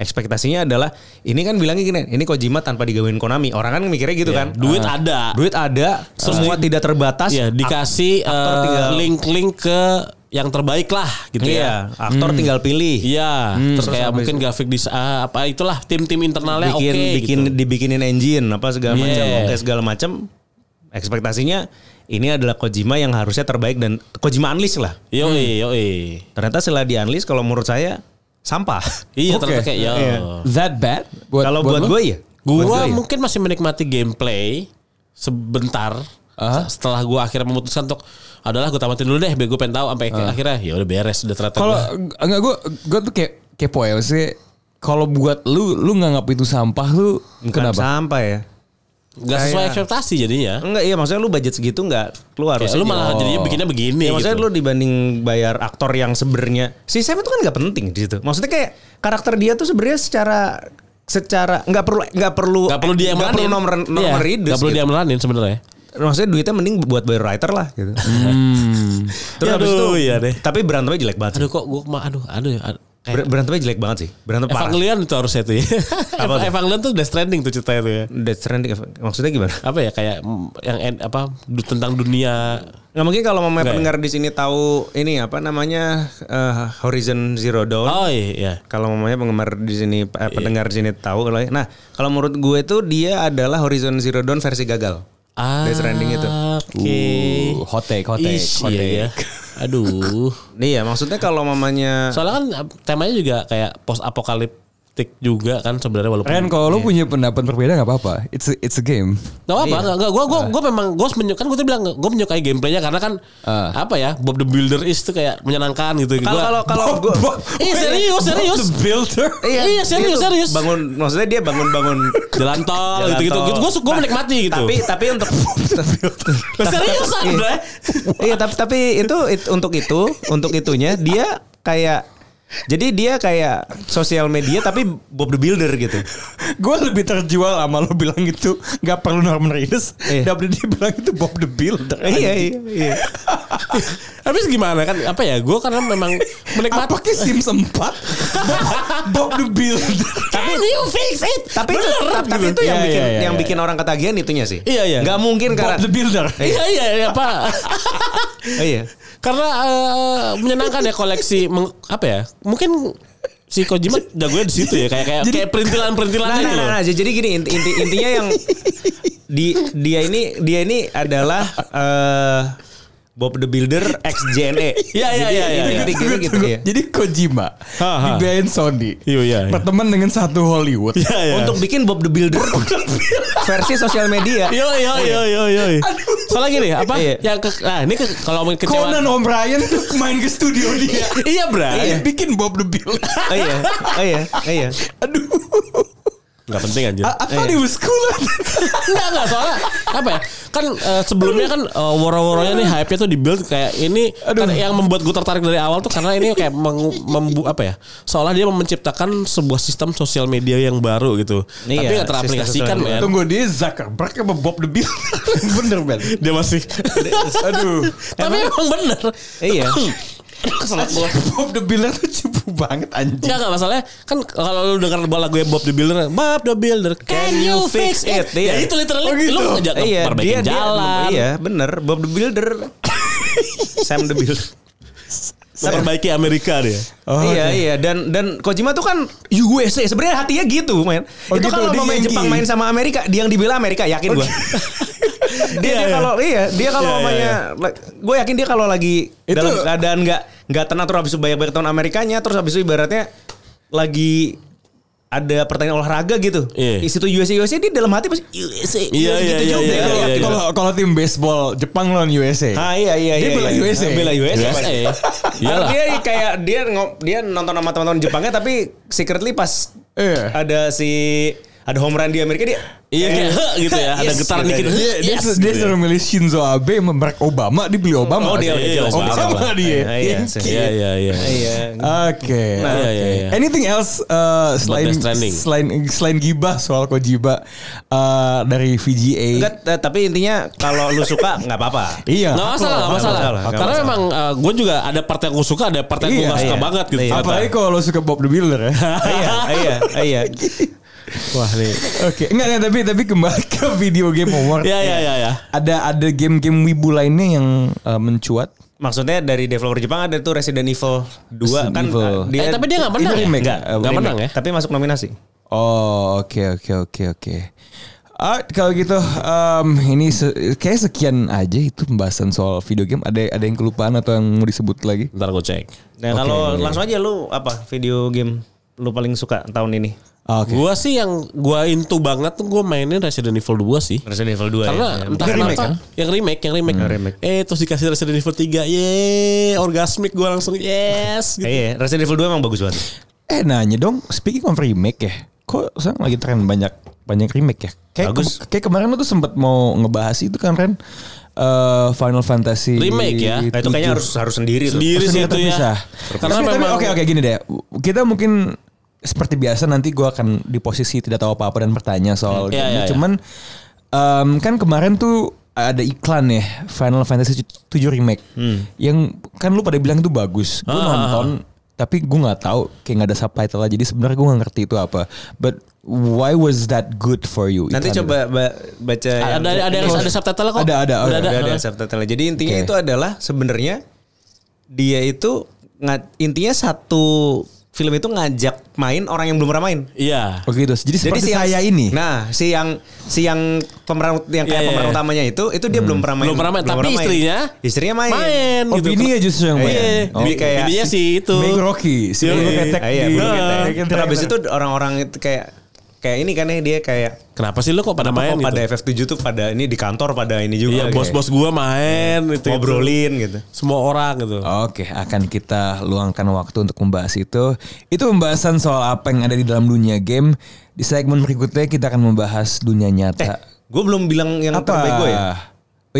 [SPEAKER 5] Ekspektasinya adalah ini kan bilangnya gini, ini Kojima tanpa digabungin Konami. Orang kan mikirnya gitu kan.
[SPEAKER 2] Duit ada.
[SPEAKER 5] Duit ada, semua tidak terbatas.
[SPEAKER 2] Ah. Iya, dikasih
[SPEAKER 5] aktor
[SPEAKER 2] eh,
[SPEAKER 5] tinggal-
[SPEAKER 2] link-link ke yang terbaik lah gitu ya.
[SPEAKER 5] Iya, aktor tinggal pilih.
[SPEAKER 2] Iya, terus
[SPEAKER 5] Terus
[SPEAKER 2] kayak
[SPEAKER 5] habis
[SPEAKER 2] mungkin grafik di apa itulah tim-tim internalnya oke
[SPEAKER 5] bikin bikin
[SPEAKER 2] gitu.
[SPEAKER 5] dibikinin engine apa segala
[SPEAKER 2] Yeah.
[SPEAKER 5] macam oke segala macam ekspektasinya ini adalah Kojima yang harusnya terbaik dan Kojima unleash lah
[SPEAKER 2] Yoi,
[SPEAKER 5] Hmm.
[SPEAKER 2] yoi.
[SPEAKER 5] ternyata setelah di unleash kalau menurut saya sampah
[SPEAKER 2] Iya,
[SPEAKER 3] Oke.
[SPEAKER 2] ternyata kayak yo.
[SPEAKER 5] Iya.
[SPEAKER 3] That bad? Buat-
[SPEAKER 5] kalau buat,
[SPEAKER 3] lo?
[SPEAKER 5] gue ya
[SPEAKER 2] Gua mungkin masih menikmati gameplay sebentar.
[SPEAKER 3] Aha.
[SPEAKER 2] Setelah gua akhirnya memutuskan untuk adalah gua tamatin dulu deh, biar gua pengen tahu sampai akhirnya ya udah beres udah ternyata.
[SPEAKER 3] Kalau
[SPEAKER 2] gua.
[SPEAKER 3] Eh, enggak gue gue tuh kayak kepo ya maksudnya kalau buat lu lu nganggap itu sampah lu
[SPEAKER 5] bukan
[SPEAKER 3] kenapa?
[SPEAKER 5] sampah ya
[SPEAKER 2] nggak sesuai
[SPEAKER 5] kayak-
[SPEAKER 2] ekspektasi jadinya.
[SPEAKER 5] enggak iya maksudnya lu budget segitu enggak keluar
[SPEAKER 2] Kayak lu malah jadinya bikinnya begini
[SPEAKER 5] iya. Ya, maksudnya
[SPEAKER 2] gitu.
[SPEAKER 5] lu dibanding bayar aktor yang sebenarnya si Sam itu kan nggak penting di situ. Maksudnya kayak karakter dia tuh sebenarnya secara secara nggak perlu nggak perlu
[SPEAKER 2] Gak perlu dia yang
[SPEAKER 5] Oh, eh, nggak perlu
[SPEAKER 2] meranin.
[SPEAKER 5] nomor nomor
[SPEAKER 2] Iya,
[SPEAKER 5] readers
[SPEAKER 2] nggak perlu
[SPEAKER 5] gitu.
[SPEAKER 2] dia meranin sebenarnya.
[SPEAKER 5] maksudnya duitnya mending buat bayar writer lah gitu. Terus
[SPEAKER 2] Ya,
[SPEAKER 5] habis itu
[SPEAKER 2] aduh, iya deh.
[SPEAKER 5] tapi berantemnya jelek banget. Sih.
[SPEAKER 2] Aduh kok gue mah aduh aduh. ya, aduh.
[SPEAKER 5] Ber-
[SPEAKER 2] Kayak
[SPEAKER 5] berantemnya jelek banget sih. Berantem parah.
[SPEAKER 2] Evangelion Eh, itu harusnya tuh ya.
[SPEAKER 5] Apa tuh?
[SPEAKER 2] Evangelion tuh udah trending tuh ceritanya tuh ya.
[SPEAKER 5] Death Stranding Eva- maksudnya gimana?
[SPEAKER 2] Apa ya kayak mm, yang en- apa du- tentang dunia
[SPEAKER 5] Nggak mungkin kalau mau
[SPEAKER 2] Nggak ya?
[SPEAKER 5] pendengar di sini tahu ini apa namanya eh, Horizon Zero Dawn.
[SPEAKER 2] Oh iya.
[SPEAKER 5] Kalau mamanya penggemar di sini, eh, pendengar di sini tahu kalau nah kalau menurut gue tuh dia adalah Horizon Zero Dawn versi gagal.
[SPEAKER 2] Ah,
[SPEAKER 5] Death Stranding itu.
[SPEAKER 2] Oke.
[SPEAKER 3] Uh, hot take, hot take,
[SPEAKER 2] Ish,
[SPEAKER 3] hot
[SPEAKER 2] iya
[SPEAKER 3] take.
[SPEAKER 2] ya. Aduh.
[SPEAKER 5] Iya, maksudnya kalau mamanya
[SPEAKER 2] Soalnya kan eh, temanya juga kayak post apokaliptik juga kan sebenarnya walaupun
[SPEAKER 3] Ren kalau lu punya pendapat berbeda nggak apa-apa. It's a, it's a game.
[SPEAKER 2] Gak apa, gak,
[SPEAKER 5] Iya.
[SPEAKER 2] gak, gue
[SPEAKER 5] Ah.
[SPEAKER 2] gue gue memang gue menyu, kan gue tuh bilang gue menyukai gameplaynya karena kan
[SPEAKER 3] Ah.
[SPEAKER 2] apa ya Bob the Builder is tuh kayak menyenangkan gitu.
[SPEAKER 5] kalau
[SPEAKER 2] Gua-
[SPEAKER 5] kalau kalau gue
[SPEAKER 2] Iya serius serius. Builder. Iya, serius
[SPEAKER 5] dia tuh
[SPEAKER 2] serius.
[SPEAKER 5] Bangun maksudnya dia bangun-bangun
[SPEAKER 2] jalan tol gitu gitu. Gue gue menikmati gitu.
[SPEAKER 5] Nah, Tapi tapi untuk
[SPEAKER 2] seriusan
[SPEAKER 5] Iya.
[SPEAKER 2] bre.
[SPEAKER 5] Iya, tapi tapi itu, it- untuk itu, untuk itunya dia kayak jadi dia kayak sosial media tapi Bob the Builder gitu.
[SPEAKER 3] gue lebih terjual sama lu bilang itu nggak perlu Norman Reedus.
[SPEAKER 5] Iya.
[SPEAKER 3] Dapet dia bilang itu Bob the Builder.
[SPEAKER 5] iya, iya, iya.
[SPEAKER 2] Habis gimana kan apa ya? Gue karena memang menikmati.
[SPEAKER 3] Apa ke Sims 4? Bob, Bob the Builder.
[SPEAKER 2] Can
[SPEAKER 5] Kan
[SPEAKER 2] you fix it?
[SPEAKER 5] Tapi itu,
[SPEAKER 2] Bener,
[SPEAKER 5] tapi
[SPEAKER 2] gitu.
[SPEAKER 5] itu yang
[SPEAKER 3] Iya,
[SPEAKER 5] bikin
[SPEAKER 3] iya, iya,
[SPEAKER 5] yang
[SPEAKER 3] iya.
[SPEAKER 5] bikin orang ketagihan itunya sih.
[SPEAKER 2] Iya, iya.
[SPEAKER 5] Nggak mungkin
[SPEAKER 3] Bob
[SPEAKER 5] karena
[SPEAKER 3] the Builder.
[SPEAKER 2] Iya iya iya apa?
[SPEAKER 5] iya.
[SPEAKER 2] Karena eh, menyenangkan ya koleksi meng- apa ya? Mungkin si Kojima jagonya di situ ya kayak kayak kayak perintilan-perintilan
[SPEAKER 5] Nah,
[SPEAKER 2] gitu
[SPEAKER 5] nah, nah,
[SPEAKER 2] loh.
[SPEAKER 5] nah, jadi gini inti, inti- intinya yang di dia ini dia ini adalah eh, Bob the Builder ex E. JNE.
[SPEAKER 2] Iya, iya, iya, iya,
[SPEAKER 5] Jadi inti-
[SPEAKER 2] iya.
[SPEAKER 5] inti-
[SPEAKER 3] Tunggu,
[SPEAKER 5] inti- gitu
[SPEAKER 3] tunggu.
[SPEAKER 5] ya.
[SPEAKER 3] Jadi Kojima
[SPEAKER 2] Ha, ha.
[SPEAKER 3] dibiayain Sony.
[SPEAKER 2] Iya, iya, iya.
[SPEAKER 3] Berteman dengan satu Hollywood.
[SPEAKER 2] Iya iya.
[SPEAKER 5] Untuk bikin Bob the Builder Iya. versi sosial media.
[SPEAKER 2] Yo yo yo yo yo. Soalnya gini apa?
[SPEAKER 5] Iya.
[SPEAKER 2] Yang ke- nah ini ke- kalau mau
[SPEAKER 3] Conan
[SPEAKER 2] kecewa.
[SPEAKER 3] O'Brien tuh main ke studio dia.
[SPEAKER 2] Iya bray.
[SPEAKER 3] Dia bikin Bob the Builder.
[SPEAKER 5] Oh iya, oh iya, oh iya.
[SPEAKER 3] Aduh.
[SPEAKER 2] Gak penting anjir.
[SPEAKER 3] I, I thought it was cool.
[SPEAKER 2] Enggak enggak soalnya apa ya? Kan eh, sebelumnya kan eh, woro-woronya nih hype-nya tuh dibuild kayak ini kan yang membuat gue tertarik dari awal tuh karena ini kayak meng, membu apa ya? Seolah dia menciptakan sebuah sistem sosial media yang baru gitu. Tapi nggak
[SPEAKER 5] Iya, sistem
[SPEAKER 2] teraplikasikan
[SPEAKER 5] sosial media.
[SPEAKER 2] men.
[SPEAKER 3] Tunggu dia Zuckerberg apa Bob the Builder? Bener Ben.
[SPEAKER 2] Dia masih
[SPEAKER 3] Aduh.
[SPEAKER 2] Tapi emang bener.
[SPEAKER 5] Iya.
[SPEAKER 2] Kesel gue.
[SPEAKER 3] Bob the Builder tuh cipu banget anjing.
[SPEAKER 2] Enggak enggak masalahnya kan kalau lu denger lagu ya Bob the Builder, Bob the Builder, can you fix it? Ya
[SPEAKER 5] Iya.
[SPEAKER 2] itu literally
[SPEAKER 3] Oh, gitu.
[SPEAKER 2] lu ngejak
[SPEAKER 5] Iya, dia
[SPEAKER 2] perbaikin
[SPEAKER 5] dia-
[SPEAKER 2] jalan,
[SPEAKER 5] Iya, bener. Bob the Builder. Sam the Builder.
[SPEAKER 2] memperbaiki Amerika dia.
[SPEAKER 5] iya iya dan dan Kojima tuh kan USA sebenarnya hatinya gitu men.
[SPEAKER 3] Oh, gitu,
[SPEAKER 5] itu kalau
[SPEAKER 3] dia
[SPEAKER 5] mau main
[SPEAKER 3] Yankee.
[SPEAKER 5] Jepang main sama Amerika dia yang dibela Amerika yakin gua. dia dia
[SPEAKER 2] Iya, iya.
[SPEAKER 5] kalau iya dia kalau
[SPEAKER 2] Iya, iya,
[SPEAKER 5] mamanya gue yakin dia kalau lagi
[SPEAKER 3] Itu-
[SPEAKER 5] dalam keadaan nggak nggak tenang terus habis itu banyak-banyak tahun Amerikanya terus habis itu ibaratnya lagi ada pertandingan olahraga gitu.
[SPEAKER 2] Iya.
[SPEAKER 5] Di situ USA USA dia dalam hati pasti USA.
[SPEAKER 2] Iya, iya,
[SPEAKER 5] gitu
[SPEAKER 2] iya,
[SPEAKER 5] juga.
[SPEAKER 2] iya, iya, iya.
[SPEAKER 3] Kalau kalau tim baseball Jepang lawan USA.
[SPEAKER 5] Ah iya iya
[SPEAKER 3] Dia
[SPEAKER 5] iya.
[SPEAKER 3] bela
[SPEAKER 5] iya.
[SPEAKER 3] USA.
[SPEAKER 5] Bela USA.
[SPEAKER 2] USA.
[SPEAKER 5] pasti.
[SPEAKER 2] Iyalah.
[SPEAKER 5] Dia kayak dia ngo- dia nonton sama teman-teman Jepangnya tapi secretly pas
[SPEAKER 3] Iya.
[SPEAKER 5] ada si ada home run di Amerika dia
[SPEAKER 2] Iya kayak "Huh," gitu ya, ada
[SPEAKER 5] Yes,
[SPEAKER 2] getar
[SPEAKER 5] gitu
[SPEAKER 2] dikit.
[SPEAKER 5] aja.
[SPEAKER 2] "Huh,
[SPEAKER 3] Dia,
[SPEAKER 2] yes,"
[SPEAKER 3] dia
[SPEAKER 2] gitu ya.
[SPEAKER 3] suruh milih Shinzo Abe sama Barack Obama, dia beli Obama.
[SPEAKER 5] oh dia
[SPEAKER 2] Iya,
[SPEAKER 5] jelas
[SPEAKER 2] Obama
[SPEAKER 5] banget.
[SPEAKER 3] dia. Eh,
[SPEAKER 5] Iya, Iya
[SPEAKER 3] Yankee.
[SPEAKER 5] iya.
[SPEAKER 2] Iya iya iya.
[SPEAKER 5] Iya.
[SPEAKER 3] Oke.
[SPEAKER 2] Nah, iya,
[SPEAKER 3] oke.
[SPEAKER 2] iya, iya.
[SPEAKER 3] Anything else uh, selain
[SPEAKER 2] Death Stranding.
[SPEAKER 3] selain selain gibah soal Kojiba uh, dari VGA?
[SPEAKER 5] Enggak, t- tapi intinya kalau lu suka nggak apa-apa.
[SPEAKER 3] Iya.
[SPEAKER 2] Nggak masalah, nggak
[SPEAKER 5] Nggak
[SPEAKER 2] masalah.
[SPEAKER 5] masalah, nggak
[SPEAKER 2] Karena
[SPEAKER 5] masalah.
[SPEAKER 2] memang gue juga ada part yang gue suka, ada part yang gue
[SPEAKER 3] Iya,
[SPEAKER 2] gak suka
[SPEAKER 5] iya.
[SPEAKER 2] banget gitu.
[SPEAKER 5] Iya.
[SPEAKER 2] ternyata.
[SPEAKER 3] Apalagi kalau lo suka Bob the Builder ya.
[SPEAKER 5] Iya, iya, iya.
[SPEAKER 3] Wah nih. Oke, enggak enggak tapi tapi kembali ke video game award.
[SPEAKER 2] Iya iya iya iya.
[SPEAKER 3] Ada ada game-game wibu lainnya yang uh, mencuat.
[SPEAKER 5] Maksudnya dari developer Jepang ada tuh Resident Evil 2 kan
[SPEAKER 3] Evil.
[SPEAKER 5] uh,
[SPEAKER 2] Eh, tapi dia nggak menang.
[SPEAKER 3] Ini
[SPEAKER 2] ya?
[SPEAKER 3] remake.
[SPEAKER 2] Nggak,
[SPEAKER 3] Eh,
[SPEAKER 2] nggak
[SPEAKER 3] remake.
[SPEAKER 2] menang ya.
[SPEAKER 5] Tapi masuk nominasi.
[SPEAKER 3] Oh, oke oke oke oke. Ah, kalau gitu em, ini se- kayak sekian aja itu pembahasan soal video game. Ada ada yang kelupaan atau yang mau disebut lagi?
[SPEAKER 2] Ntar gue cek.
[SPEAKER 5] Nah,
[SPEAKER 3] Oke.
[SPEAKER 5] kalau langsung aja lu apa video game lu paling suka tahun ini?
[SPEAKER 3] Oke.
[SPEAKER 2] Gue sih yang gue into banget tuh gue mainin Resident Evil 2 sih.
[SPEAKER 5] Resident Evil 2
[SPEAKER 2] Karena entah
[SPEAKER 5] ya. Yang
[SPEAKER 2] kenapa
[SPEAKER 5] remake, kan?
[SPEAKER 2] yang remake, yang remake.
[SPEAKER 5] Yang remake.
[SPEAKER 2] Eh terus dikasih Resident Evil 3. Ye, orgasmik gue langsung yes gitu.
[SPEAKER 5] Iya, Resident Evil 2 emang bagus banget.
[SPEAKER 3] Eh nanya dong, speaking of remake ya. Kok sekarang lagi tren banyak banyak remake ya? Kayak
[SPEAKER 5] Bagus.
[SPEAKER 3] ke- kayak kemarin lu tuh sempat mau ngebahas itu kan Ren Eh, Final Fantasy
[SPEAKER 2] Remake ya?
[SPEAKER 5] Nah, itu kayaknya harus harus sendiri tuh.
[SPEAKER 2] Sendiri
[SPEAKER 3] Terus
[SPEAKER 2] sih itu
[SPEAKER 3] dia
[SPEAKER 2] ya.
[SPEAKER 3] terpisah.
[SPEAKER 2] Karena
[SPEAKER 3] Tapi- tapi
[SPEAKER 2] memang
[SPEAKER 3] oke oke gini deh. Kita mungkin seperti biasa nanti gua akan di posisi tidak tahu apa-apa dan bertanya soal
[SPEAKER 2] Iya,
[SPEAKER 3] gamenya.
[SPEAKER 2] iya, iya.
[SPEAKER 3] Cuman em, kan kemarin tuh ada iklan ya Final Fantasy 7 remake yang kan lu pada bilang itu bagus gue
[SPEAKER 2] Hmm. Ah.
[SPEAKER 3] nonton tapi gue nggak tahu kayak nggak ada subtitle jadi sebenarnya gue nggak ngerti itu apa but why was that good for you
[SPEAKER 5] Nanti
[SPEAKER 3] Iklan
[SPEAKER 5] coba ba- baca
[SPEAKER 2] Ada
[SPEAKER 5] yang-
[SPEAKER 2] ada ada, ada subtitle kok.
[SPEAKER 3] Ada, ada,
[SPEAKER 2] Udah
[SPEAKER 3] ada,
[SPEAKER 2] ada.
[SPEAKER 5] Udah ada subtitle. Jadi intinya
[SPEAKER 3] Oke.
[SPEAKER 5] itu adalah sebenarnya dia itu nga- intinya satu film itu ngajak main orang yang belum pernah main.
[SPEAKER 2] Iya.
[SPEAKER 3] itu. oke itu jadi seperti
[SPEAKER 5] si yang-
[SPEAKER 3] saya ini
[SPEAKER 5] Nah, si yang si yang pemeran yang
[SPEAKER 2] Iya,
[SPEAKER 5] kayak
[SPEAKER 2] iya,
[SPEAKER 5] pemeran
[SPEAKER 2] iya.
[SPEAKER 5] utamanya itu itu dia belum pernah main.
[SPEAKER 2] Belum pernah main, tapi
[SPEAKER 5] pernah
[SPEAKER 2] istrinya
[SPEAKER 5] istrinya main.
[SPEAKER 2] Main
[SPEAKER 3] oh bini ya justru yang main
[SPEAKER 2] gitu. Iya.
[SPEAKER 3] Oh.
[SPEAKER 5] Jadi kayak-
[SPEAKER 2] Bininya sih itu.
[SPEAKER 3] Make Rocky si
[SPEAKER 2] Iya.
[SPEAKER 3] bulu ketek
[SPEAKER 5] Ah, iya,
[SPEAKER 3] di-
[SPEAKER 5] belum kita.
[SPEAKER 3] Dragon
[SPEAKER 5] Terus habis itu
[SPEAKER 3] Trainer.
[SPEAKER 5] orang-orang itu kayak kayak ini kan ya dia kayak
[SPEAKER 2] Kenapa sih lu kok pada main
[SPEAKER 5] kok pada
[SPEAKER 2] gitu?
[SPEAKER 5] FF7 tuh pada ini di kantor pada ini juga.
[SPEAKER 2] Iya,
[SPEAKER 5] kayak
[SPEAKER 2] bos-bos gua main itu.
[SPEAKER 5] ngobrolin gitu.
[SPEAKER 2] Semua orang gitu.
[SPEAKER 3] Oke, akan kita luangkan waktu untuk membahas itu. Itu pembahasan soal apa yang ada di dalam dunia game. Di segmen berikutnya kita akan membahas dunia nyata.
[SPEAKER 2] Eh,
[SPEAKER 5] Gue belum bilang yang terbaik gue ya.
[SPEAKER 3] Oh,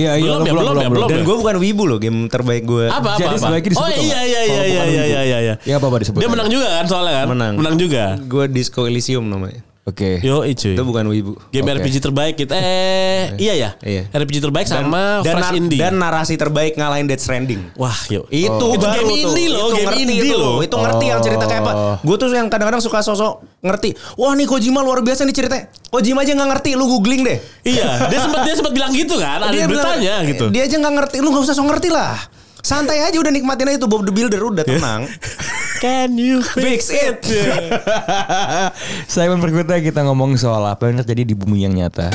[SPEAKER 3] Iya,
[SPEAKER 2] Belum ya,
[SPEAKER 3] iya,
[SPEAKER 2] belum ya, belum.
[SPEAKER 5] Dan gue bukan wibu loh game terbaik gue.
[SPEAKER 2] Apa apa? apa?
[SPEAKER 3] Jadi sebaiknya disebut
[SPEAKER 2] Oh iya
[SPEAKER 3] apa?
[SPEAKER 2] iya iya
[SPEAKER 3] Kalau
[SPEAKER 2] iya
[SPEAKER 3] bukan
[SPEAKER 2] iya
[SPEAKER 3] untuk-
[SPEAKER 2] iya iya.
[SPEAKER 3] Ya, apa-apa disebut
[SPEAKER 2] Dia
[SPEAKER 3] aja.
[SPEAKER 2] menang juga kan soalnya kan?
[SPEAKER 5] Menang.
[SPEAKER 2] Menang juga.
[SPEAKER 5] Gue Disco Elysium namanya.
[SPEAKER 3] Oke.
[SPEAKER 2] Yo, cuy.
[SPEAKER 5] Itu bukan wibu.
[SPEAKER 2] Game
[SPEAKER 3] Oke.
[SPEAKER 2] RPG terbaik kita. Eh, iya ya.
[SPEAKER 5] Iya.
[SPEAKER 2] RPG terbaik sama
[SPEAKER 5] dan,
[SPEAKER 2] Fresh
[SPEAKER 5] nar-
[SPEAKER 2] Indie.
[SPEAKER 5] dan narasi terbaik ngalahin Death Stranding.
[SPEAKER 2] Wah, yuk.
[SPEAKER 5] Itu
[SPEAKER 2] Itu
[SPEAKER 5] baru
[SPEAKER 2] game
[SPEAKER 5] tuh.
[SPEAKER 2] indie loh,
[SPEAKER 5] Itu
[SPEAKER 2] game
[SPEAKER 5] ngerti
[SPEAKER 2] indie
[SPEAKER 5] itu.
[SPEAKER 2] loh. Oh.
[SPEAKER 5] Itu ngerti yang cerita kayak apa. Gue tuh yang kadang-kadang suka sosok ngerti. Wah nih Kojima luar biasa nih ceritanya. Kojima aja nggak ngerti, lu googling deh.
[SPEAKER 2] Iya, dia sempat dia sempat bilang gitu kan, ada beritanya
[SPEAKER 5] bilang,
[SPEAKER 2] gitu.
[SPEAKER 5] Dia aja nggak ngerti, lu nggak usah sok ngerti lah. Santai aja udah nikmatin aja tuh Bob the Builder udah
[SPEAKER 2] Iya.
[SPEAKER 5] tenang.
[SPEAKER 2] Can you
[SPEAKER 5] Fix it.
[SPEAKER 3] Segmen berikutnya kita ngomong soal apa yang terjadi di bumi yang nyata.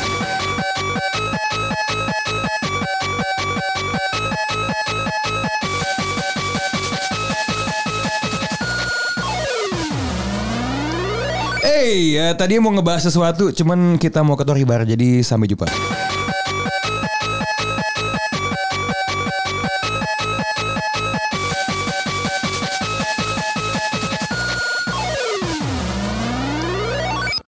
[SPEAKER 3] Hey, eh, tadi mau ngebahas sesuatu, cuman kita mau ke Tori Bar, jadi sampai jumpa.